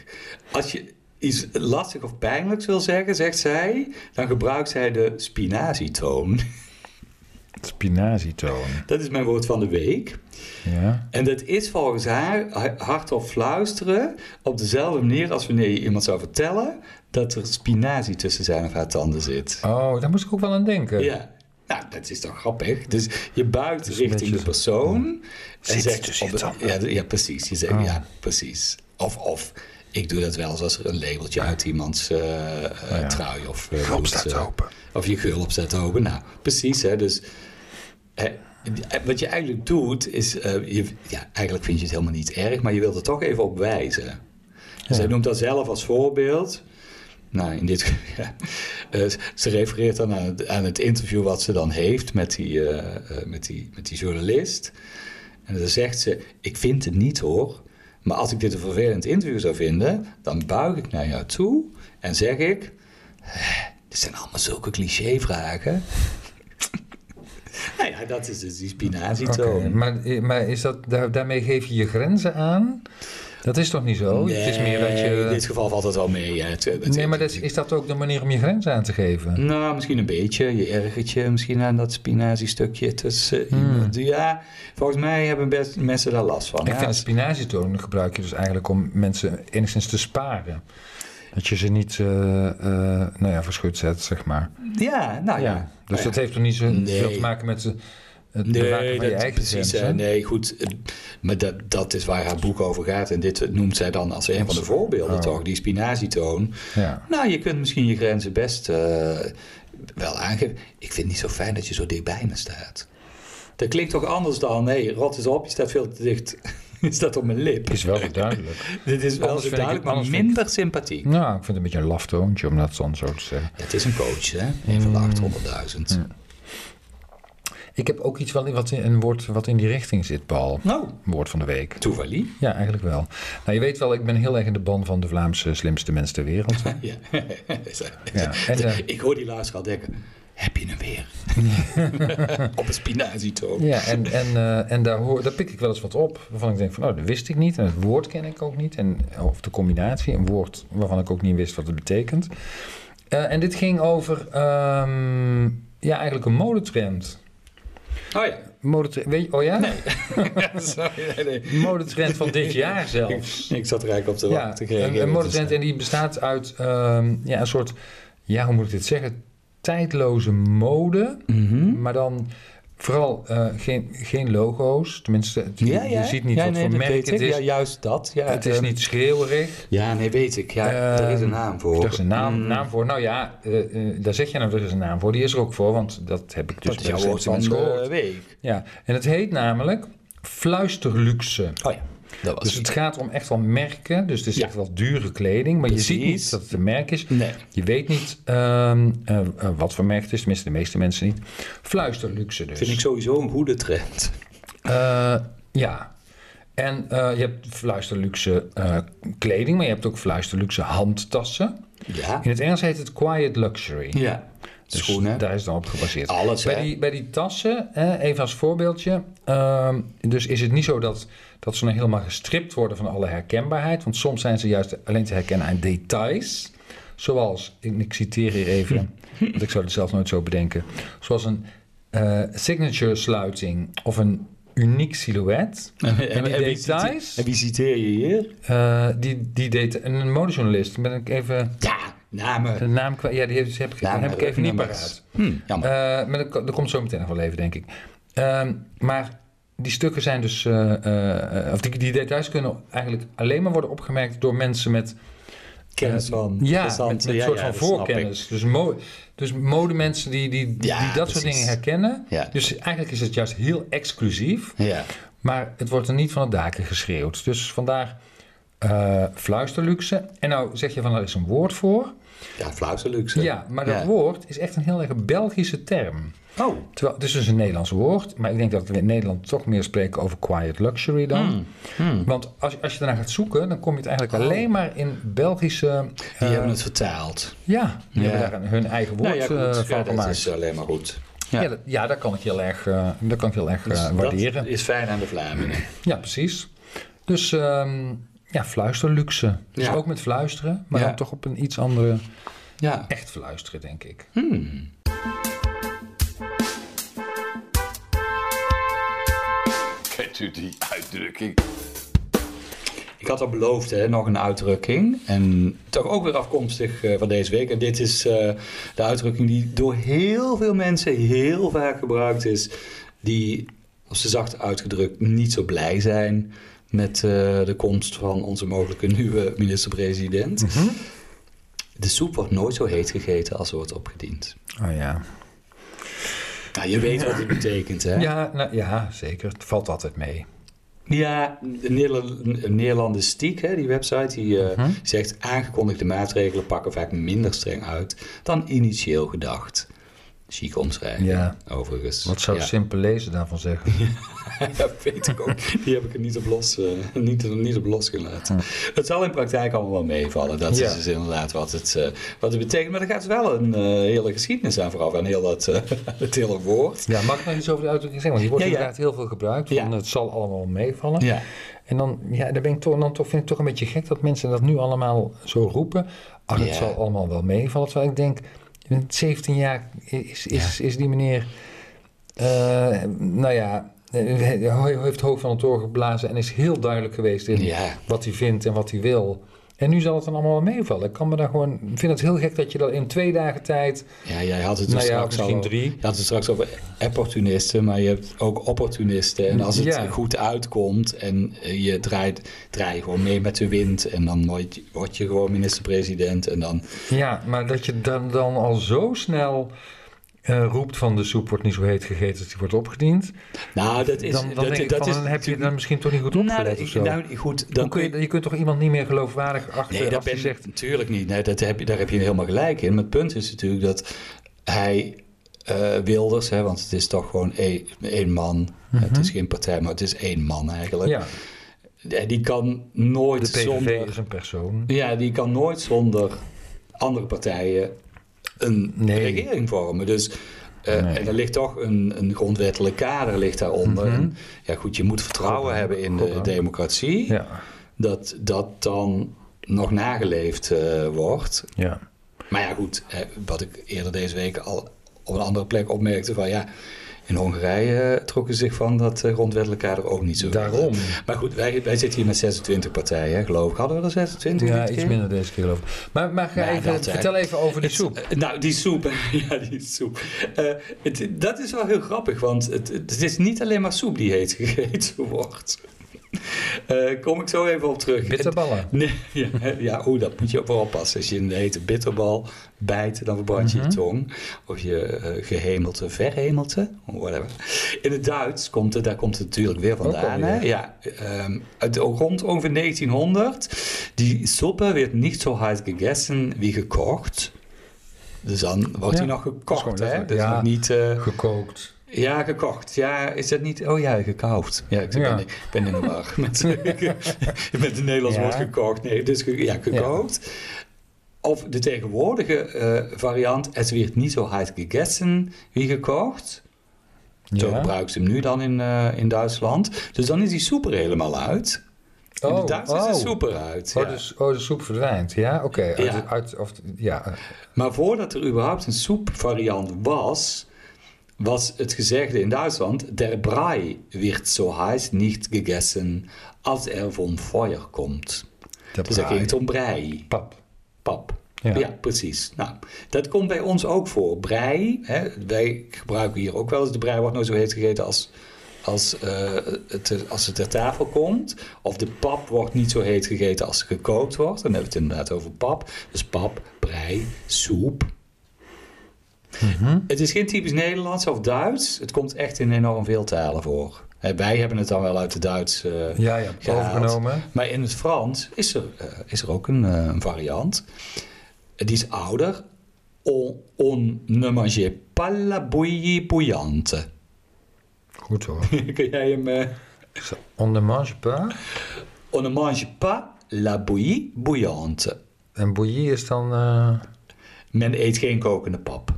Speaker 2: Als je iets lastig of pijnlijks wil zeggen, zegt zij, dan gebruikt zij de spinazietoon.
Speaker 3: Spinazietoon.
Speaker 2: Dat is mijn woord van de week.
Speaker 3: Ja.
Speaker 2: En dat is volgens haar ha- hardop fluisteren op dezelfde manier als wanneer je iemand zou vertellen dat er spinazie tussen zijn of haar tanden zit.
Speaker 3: Oh, daar moest ik ook wel aan denken.
Speaker 2: Ja. Nou, dat is toch grappig? Dus je buigt
Speaker 3: is een
Speaker 2: richting
Speaker 3: beetje
Speaker 2: de persoon.
Speaker 3: Zit dus tussen je
Speaker 2: op het- ja, ja, precies. Je zegt,
Speaker 3: Oh.
Speaker 2: ja, precies. Of, of, ik doe dat wel eens als er een labeltje uit iemands eh eh,
Speaker 3: Ah, ja.
Speaker 2: trui of... eh,
Speaker 3: Gulp
Speaker 2: blouse,
Speaker 3: staat
Speaker 2: eh,
Speaker 3: open.
Speaker 2: Of je gulp staat open. Nou, precies, hè. Dus eh, wat je eigenlijk doet, is... eh, je, ja, eigenlijk vind je het helemaal niet erg, maar je wilt er toch even op wijzen. Zij noemt dat zelf als voorbeeld. Nou, in dit, ja. Eh, ze refereert dan aan het, aan het interview wat ze dan heeft met die, eh, eh, met, die, met die journalist. En dan zegt ze: Ik vind het niet hoor, maar als ik dit een vervelend interview zou vinden, dan buig ik naar jou toe en zeg ik: "Eh, Dit zijn allemaal zulke clichévragen. nou ja, dat is dus die
Speaker 3: Oké,
Speaker 2: spinazietoon.
Speaker 3: maar, maar is dat, daar- daarmee geef je je grenzen aan? Dat is toch niet zo? Oh, het is meer dat
Speaker 2: Nee, In
Speaker 3: je...
Speaker 2: dit geval valt het wel mee. hè. Het- het-
Speaker 3: Nee, maar dat, is- is dat ook de manier om je grenzen aan te geven?
Speaker 2: Nou, misschien een beetje. Je ergert je misschien aan dat spinazie-stukje tussen iemand. Ja, volgens mij hebben best mensen daar last van.
Speaker 3: Hmm. Ik
Speaker 2: Ja,
Speaker 3: vind
Speaker 2: als-
Speaker 3: spinazietoon gebruik je dus eigenlijk om mensen enigszins te sparen. Dat je ze niet, eh, eh, nou ja, verschut zet, zeg maar.
Speaker 2: ja nou ja.
Speaker 3: Ja, dus dat heeft toch niet zo
Speaker 2: Nee.
Speaker 3: veel te maken met ze- het bewaken
Speaker 2: Nee,
Speaker 3: van
Speaker 2: dat,
Speaker 3: je eigen
Speaker 2: precies.
Speaker 3: grenzen.
Speaker 2: hè. nee, goed. eh, Maar dat, dat is waar haar boek over gaat. En dit noemt zij dan als een van de voorbeelden,
Speaker 3: Oh.
Speaker 2: toch? Die spinazietoon.
Speaker 3: Ja.
Speaker 2: Nou, je kunt misschien je grenzen best eh, wel aangeven. Ik vind het niet zo fijn dat je zo dicht bij me staat. Dat klinkt toch anders dan, hé, rot is op, je staat veel te dicht. Je staat op mijn lip.
Speaker 3: Is wel goed duidelijk.
Speaker 2: Dit is wel
Speaker 3: Anders vind ik
Speaker 2: zo
Speaker 3: het-
Speaker 2: duidelijk, maar
Speaker 3: anders vind ik-
Speaker 2: minder sympathiek.
Speaker 3: Nou, ik vind het een beetje een laf toontje om dat dan zo te zeggen.
Speaker 2: Ja, Hmm. het is een coach, hè? Een
Speaker 3: Hmm.
Speaker 2: van de 800.000.
Speaker 3: Ik heb ook iets wel, wat in, een woord wat in die richting zit, Paul.
Speaker 2: Nou,
Speaker 3: Woord van de week.
Speaker 2: Toevalie.
Speaker 3: Ja, eigenlijk wel. Nou, je weet wel, ik ben heel erg in de ban van de Vlaamse slimste mens ter wereld.
Speaker 2: Ja.
Speaker 3: Ja, en, eh,
Speaker 2: Ik hoor die luisteraar denken, heb je hem weer? Op een spinazietoon.
Speaker 3: Ja, en, en, eh, en daar, hoor, daar pik ik wel eens wat op. Waarvan ik denk van, oh, dat wist ik niet. En het woord ken ik ook niet. En, of de combinatie, een woord waarvan ik ook niet wist wat het betekent. Eh, en dit ging over, ehm, ja, eigenlijk een modetrend.
Speaker 2: Oh ja.
Speaker 3: Modetrend, weet je, oh ja?
Speaker 2: Sorry, nee, nee.
Speaker 3: Modetrend van dit jaar
Speaker 2: Ik,
Speaker 3: zelfs.
Speaker 2: ik zat er eigenlijk op te Dus-
Speaker 3: Ja,
Speaker 2: wachten.
Speaker 3: een, een modetrend en die bestaat uit ehm, ja, een soort, ja, hoe moet ik dit zeggen? Tijdloze mode.
Speaker 2: Mhm.
Speaker 3: Maar dan vooral eh, geen, geen logo's. Tenminste, het-
Speaker 2: Ja,
Speaker 3: je-
Speaker 2: ja.
Speaker 3: je ziet niet
Speaker 2: ja,
Speaker 3: wat
Speaker 2: nee,
Speaker 3: voor
Speaker 2: dat
Speaker 3: merk
Speaker 2: weet
Speaker 3: het
Speaker 2: ik.
Speaker 3: is.
Speaker 2: Ja, juist dat. Ja,
Speaker 3: het is
Speaker 2: ehm,
Speaker 3: niet schreeuwerig.
Speaker 2: Ja, nee, weet ik. Ja, er is een naam voor. Mm.
Speaker 3: Er is een naam, naam voor. Nou ja, eh, eh, daar zeg je nou, er is een naam voor. Die is er ook voor, want dat heb ik dus
Speaker 2: Dat is
Speaker 3: bij de
Speaker 2: jouw woord
Speaker 3: slimste
Speaker 2: van
Speaker 3: mensen
Speaker 2: de
Speaker 3: gehoord.
Speaker 2: week.
Speaker 3: Ja, en het heet namelijk fluisterluxe.
Speaker 2: Oh ja, dat was
Speaker 3: Dus het gaat om echt wel merken. Dus het is
Speaker 2: Ja.
Speaker 3: echt wel dure kleding. Maar je ziet
Speaker 2: Precies.
Speaker 3: niet dat het een merk is.
Speaker 2: Nee.
Speaker 3: Je weet niet ehm, eh, eh, wat voor merk het is. Tenminste, de meeste mensen niet. Fluisterluxe dus.
Speaker 2: Vind ik sowieso een goede trend.
Speaker 3: Eh, ja. En eh, je hebt fluisterluxe eh, kleding, maar je hebt ook fluisterluxe handtassen.
Speaker 2: Ja.
Speaker 3: In het Engels heet het quiet luxury.
Speaker 2: Ja.
Speaker 3: Dus
Speaker 2: Schoenen.
Speaker 3: daar is dan op gebaseerd.
Speaker 2: Alles,
Speaker 3: bij
Speaker 2: hè?
Speaker 3: die, bij die tassen, hè, even als voorbeeldje. ehm, dus is het niet zo dat, dat ze nou helemaal gestript worden van alle herkenbaarheid. Want soms zijn ze juist alleen te herkennen aan details. Zoals, ik, ik citeer hier even, want ik zou het zelf nooit zo bedenken. Zoals een eh, signature sluiting of een uniek silhouet. En die
Speaker 2: wie cite-
Speaker 3: details,
Speaker 2: en wie citeer je hier?
Speaker 3: eh, die, die deta- een modejournalist, ben ik even
Speaker 2: Ja, namen.
Speaker 3: de naam kwijt. Ja, die heeft- heb ik,
Speaker 2: Namen,
Speaker 3: heb ik even niet
Speaker 2: nummers.
Speaker 3: paraat.
Speaker 2: Hm, jammer.
Speaker 3: Eh, maar dat, ko- dat komt zo meteen nog wel even, denk ik. Ehm, maar die stukken zijn dus. eh, eh, eh, of die, die details kunnen eigenlijk alleen maar worden opgemerkt door mensen met.
Speaker 2: Kennis van.
Speaker 3: Eh, Ja, met,
Speaker 2: interessant.
Speaker 3: met een
Speaker 2: Ja,
Speaker 3: soort
Speaker 2: ja,
Speaker 3: van
Speaker 2: dat snap
Speaker 3: voorkennis. Dus, mo dus modemensen die, die,
Speaker 2: Ja,
Speaker 3: die dat soort
Speaker 2: precies.
Speaker 3: dingen herkennen.
Speaker 2: Ja.
Speaker 3: Dus eigenlijk is het juist heel exclusief.
Speaker 2: ik. Ja.
Speaker 3: Maar het wordt er niet van het daken geschreeuwd. Dus vandaar eh, fluisterluxe. En nou zeg je van er is een woord voor.
Speaker 2: Ja, flauwselux. hè?
Speaker 3: Ja, maar dat
Speaker 2: Ja.
Speaker 3: woord is echt een heel erg Belgische term.
Speaker 2: Oh,
Speaker 3: Terwijl, het is dus een Nederlands woord, maar ik denk dat we in Nederland toch meer spreken over quiet luxury dan.
Speaker 2: Hmm,
Speaker 3: Want als, als je daarna gaat zoeken, dan kom je het eigenlijk alleen maar in Belgische. eh,
Speaker 2: Oh. die hebben het vertaald.
Speaker 3: Ja, die
Speaker 2: Ja.
Speaker 3: hebben daar een- hun eigen woord
Speaker 2: Nou ja, goed.
Speaker 3: eh,
Speaker 2: Ja,
Speaker 3: van
Speaker 2: dat
Speaker 3: gemaakt.
Speaker 2: is alleen maar goed.
Speaker 3: ja.
Speaker 2: ja.
Speaker 3: dat, ja, dat kan ik heel erg, eh, dat kan ik heel erg eh,
Speaker 2: Dus
Speaker 3: waarderen.
Speaker 2: Dat is fijn aan de Vlamingen.
Speaker 3: Ja, precies. Dus ehm, ja, fluisterluxe. Dus
Speaker 2: Ja.
Speaker 3: ook met fluisteren, maar
Speaker 2: Ja.
Speaker 3: dan toch op een iets andere,
Speaker 2: Ja.
Speaker 3: echt fluisteren, denk ik.
Speaker 2: Hm?
Speaker 5: Kent u die uitdrukking?
Speaker 2: Ik had al beloofd, hè, nog een uitdrukking. En toch ook weer afkomstig eh, van deze week. En dit is eh, de uitdrukking die door heel veel mensen heel vaak gebruikt is. Die, op ze zacht uitgedrukt, niet zo blij zijn met eh, de komst van onze mogelijke nieuwe minister-president. De soep wordt nooit zo heet gegeten als ze wordt opgediend.
Speaker 3: Oh ja.
Speaker 2: Nou, je weet wat het betekent, hè?
Speaker 3: Ja, nou, ja, zeker. Het valt altijd mee.
Speaker 2: Ja, de Nederla- Neerlandistiek, hè, die website, die eh,
Speaker 3: Mhm.
Speaker 2: zegt aangekondigde maatregelen pakken vaak minder streng uit dan initieel gedacht. Chique omschrijving,
Speaker 3: Ja.
Speaker 2: overigens.
Speaker 3: Wat zou
Speaker 2: ja.
Speaker 3: simpel lezen daarvan zeggen?
Speaker 2: Ja, weet ik ook. Die heb ik er niet op, los, eh, niet, niet op losgelaten. Het zal in praktijk allemaal wel meevallen. Dat
Speaker 3: Ja.
Speaker 2: is dus inderdaad wat het, eh, wat het betekent. Maar er gaat wel een eh, hele geschiedenis aan vooraf, aan heel dat, eh, het hele woord.
Speaker 3: Ja, mag ik nog iets over de uitdrukking zeggen? Want die wordt
Speaker 2: Ja, ja.
Speaker 3: inderdaad heel veel gebruikt.
Speaker 2: Ja.
Speaker 3: Van, Het zal allemaal meevallen.
Speaker 2: Ja.
Speaker 3: En dan, ja, dan, ben ik toch, dan toch, vind ik toch een beetje gek dat mensen dat nu allemaal zo roepen. Ach, het
Speaker 2: Ja.
Speaker 3: zal allemaal wel meevallen. Terwijl ik denk, in 17 jaar is, is, is die meneer, eh, nou ja, eh, hij hij heeft hoofd van het oor geblazen en is heel duidelijk geweest in
Speaker 2: Ja.
Speaker 3: wat hij vindt en wat hij wil. En nu zal het dan allemaal wel meevallen. Ik kan me daar gewoon, ik vind het heel gek dat je dat in twee dagen tijd.
Speaker 2: Ja, jij had het er
Speaker 3: Nou ja,
Speaker 2: straks
Speaker 3: misschien
Speaker 2: al over-
Speaker 3: drie.
Speaker 2: Je had het straks over opportunisten, maar je hebt ook opportunisten. En als het
Speaker 3: Ja.
Speaker 2: goed uitkomt en eh, je draait, draai je gewoon mee met de wind. En dan word je, word je gewoon minister-president. En dan,
Speaker 3: Ja, maar dat je dan, dan al zo snel eh, roept van de soep wordt niet zo heet gegeten als die wordt opgediend.
Speaker 2: nou, dat is...
Speaker 3: dan, dan
Speaker 2: dat,
Speaker 3: denk ik
Speaker 2: dat
Speaker 3: van, dan heb je het dan misschien toch niet goed
Speaker 2: Nou,
Speaker 3: opgelet
Speaker 2: dat-
Speaker 3: of zo.
Speaker 2: nou, goed,
Speaker 3: Dan
Speaker 2: dan
Speaker 3: kun je, je kunt toch iemand niet meer geloofwaardig achter
Speaker 2: Nee,
Speaker 3: als
Speaker 2: dat
Speaker 3: je
Speaker 2: ben
Speaker 3: zegt...
Speaker 2: natuurlijk niet. Nee, dat heb je, daar heb je helemaal gelijk in. Maar het punt is natuurlijk dat hij eh, Wilders, hè, want het is toch gewoon één, één man. Het
Speaker 3: Mhm.
Speaker 2: is geen partij, maar het is één man eigenlijk.
Speaker 3: Ja,
Speaker 2: Ja, die kan
Speaker 3: de
Speaker 2: nooit
Speaker 3: PVV is
Speaker 2: zonder.
Speaker 3: een persoon.
Speaker 2: Ja, die kan nooit zonder andere partijen een
Speaker 3: Nee.
Speaker 2: regering vormen. Dus eh,
Speaker 3: Nee. Mhm.
Speaker 2: en er ligt toch een, een grondwettelijk kader ligt daaronder. En, ja, goed, je moet vertrouwen hebben in de
Speaker 3: goddank.
Speaker 2: democratie.
Speaker 3: Ja,
Speaker 2: Dat dat dan nog nageleefd eh, wordt.
Speaker 3: ja.
Speaker 2: Maar ja, goed, hè, wat ik eerder deze week al op een andere plek opmerkte van ja. In Hongarije eh, trokken ze zich van dat eh, grondwettelijk kader ook niet zo veel.
Speaker 3: Daarom.
Speaker 2: Maar goed, wij, wij zitten hier met 26 partijen, hè, geloof ik. Hadden we er 26?
Speaker 3: ja
Speaker 2: dit
Speaker 3: iets
Speaker 2: keer?
Speaker 3: minder deze keer geloof ik. Maar, maar ga
Speaker 2: Ja,
Speaker 3: even,
Speaker 2: dat, hè.
Speaker 3: vertel even over die
Speaker 2: Het-
Speaker 3: soep.
Speaker 2: eh, nou, die soep. ja, die soep. Eh, het, dat is wel heel grappig, want het, het is niet alleen maar soep die heet gegeten wordt. Eh, kom ik zo even op terug.
Speaker 3: Bitterballen.
Speaker 2: Nee, ja, ja oeh, dat moet je ook wel oppassen. Als je een hete bitterbal bijt, dan verbrand je
Speaker 3: Mhm.
Speaker 2: je tong. Of je eh, gehemelte, verhemelte, whatever. In het Duits komt het, daar komt het natuurlijk weer vandaan.
Speaker 3: alweer.
Speaker 2: Hè? Ja, ehm, uit, rond ongeveer 1900. Die soppe werd niet zo hard gegessen wie gekocht. Dus dan wordt
Speaker 3: Ja,
Speaker 2: die nog
Speaker 3: is
Speaker 2: gekocht,
Speaker 3: gewoon
Speaker 2: hè?
Speaker 3: letterlijk,
Speaker 2: Dat is
Speaker 3: ja.
Speaker 2: nog niet... eh,
Speaker 3: Gekookt.
Speaker 2: ja, gekocht. Ja, is dat niet... Oh ja, gekauft. Ja, ik ben,
Speaker 3: Ja.
Speaker 2: Ik ben in de war met, met het Nederlands
Speaker 3: Ja.
Speaker 2: woord gekocht. Nee, dus ge- ja, gekookt. Of de tegenwoordige eh, variant... Het werd niet zo hard gegessen wie gekocht. Zo
Speaker 3: Ja.
Speaker 2: gebruiken ze hem nu dan in, eh, in Duitsland. Dus dan is die soep er helemaal uit. in
Speaker 3: Oh,
Speaker 2: het Duits is
Speaker 3: oh.
Speaker 2: de soep eruit.
Speaker 3: Oh,
Speaker 2: ja.
Speaker 3: dus, oh, de soep verdwijnt. Ja, oké. Uit,
Speaker 2: Ja.
Speaker 3: uit- of, ja.
Speaker 2: Maar voordat er überhaupt een soepvariant was, was het gezegde in Duitsland: Der Brei wird so heiß nicht gegessen, als er vom Feuer komt.
Speaker 3: Dat
Speaker 2: Dus daar ging het om brei,
Speaker 3: Pap.
Speaker 2: pap.
Speaker 3: Ja.
Speaker 2: Ja. precies. Nou, dat komt bij ons ook voor. Brei, hè, wij gebruiken hier ook wel eens de brei, wordt nooit zo heet gegeten als, als, eh, het, als het ter tafel komt. Of de pap wordt niet zo heet gegeten als ze gekookt wordt. Dan hebben we het inderdaad over pap. Dus pap, brei, soep. Het is geen typisch Nederlands of Duits. Het komt echt in enorm veel talen voor. Hè, wij hebben het dan wel uit de Duits eh,
Speaker 3: Ja, ja.
Speaker 2: gehaald.
Speaker 3: Overgenomen.
Speaker 2: Maar in het Frans is er, eh, is er ook een, eh, een variant. die is ouder. On, on ne mange pas la bouillie bouillante.
Speaker 3: Goed hoor.
Speaker 2: Kun jij hem... eh,
Speaker 3: On ne mange pas.
Speaker 2: on ne mange pas la bouillie bouillante.
Speaker 3: En bouillie is dan... eh,
Speaker 2: Men eet geen kokende pap.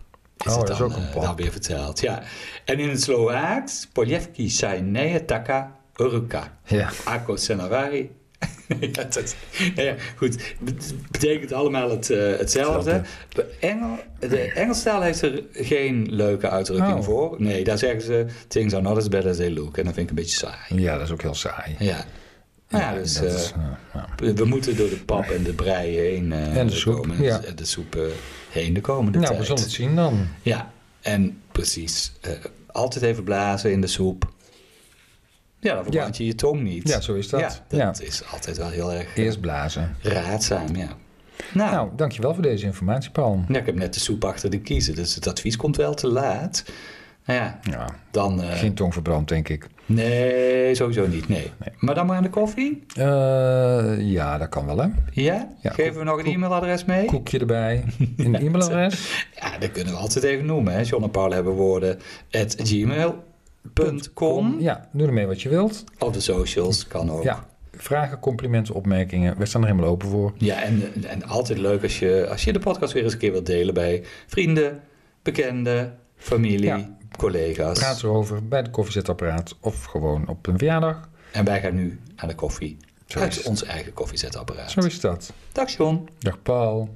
Speaker 2: Is
Speaker 3: Oh,
Speaker 2: het
Speaker 3: dat
Speaker 2: dan,
Speaker 3: is ook een
Speaker 2: eh,
Speaker 3: pap.
Speaker 2: dan weer verteld, ja. En in het Slovaaks, Poljevki sajneje taka uruka.
Speaker 3: ja.
Speaker 2: Ako senarari. ja, dat, nou ja, goed. Het betekent allemaal het, eh, hetzelfde. Engel, de Engelstaal heeft er geen leuke uitdrukking
Speaker 3: Oh.
Speaker 2: voor. Nee, daar zeggen ze things are not as bad as they look. En dat vind ik een beetje saai.
Speaker 3: ja, dat is ook heel saai.
Speaker 2: Ja. Nou ja, dus,
Speaker 3: dat
Speaker 2: eh,
Speaker 3: is, eh, ja.
Speaker 2: we we moeten door de pap en de brei heen. eh,
Speaker 3: En de soep,
Speaker 2: komen,
Speaker 3: ja.
Speaker 2: En de soep eh, heen de komende
Speaker 3: Nou, we
Speaker 2: tijd.
Speaker 3: zullen het zien dan.
Speaker 2: Ja, en precies. eh, altijd even blazen in de soep. Ja, dan verbrand je je tong niet.
Speaker 3: Ja, zo is dat.
Speaker 2: Ja, dat is altijd wel heel erg
Speaker 3: Eerst blazen.
Speaker 2: raadzaam, ja. Nou,
Speaker 3: Nou, dankjewel voor deze informatie, Paul.
Speaker 2: ja, ik heb net de soep achter de kiezen, dus het advies komt wel te laat. Nou ja,
Speaker 3: Ja,
Speaker 2: dan... eh,
Speaker 3: geen tong verbrand, denk ik.
Speaker 2: nee, sowieso niet, nee. Maar dan maar aan de koffie?
Speaker 3: Eh, ja, dat kan wel, hè?
Speaker 2: Ja?
Speaker 3: Ja,
Speaker 2: Geven we nog een e-mailadres mee?
Speaker 3: Koekje erbij, een e-mailadres.
Speaker 2: Ja, dat kunnen we altijd even noemen, hè. John en Paul hebben woorden. At gmail.com.
Speaker 3: Ja, doe ermee wat je wilt.
Speaker 2: Op de socials, kan ook.
Speaker 3: Ja, vragen, complimenten, opmerkingen. We staan er helemaal open voor.
Speaker 2: Ja, en, en altijd leuk als je, als je de podcast weer eens een keer wilt delen bij vrienden, bekenden, familie,
Speaker 3: Ja.
Speaker 2: collega's.
Speaker 3: Praat erover bij de koffiezetapparaat of gewoon op een verjaardag.
Speaker 2: En wij gaan nu aan de koffie.
Speaker 3: Zo is
Speaker 2: uit
Speaker 3: het.
Speaker 2: ons eigen koffiezetapparaat.
Speaker 3: Zo is dat.
Speaker 2: Dag John.
Speaker 3: Dag Paul.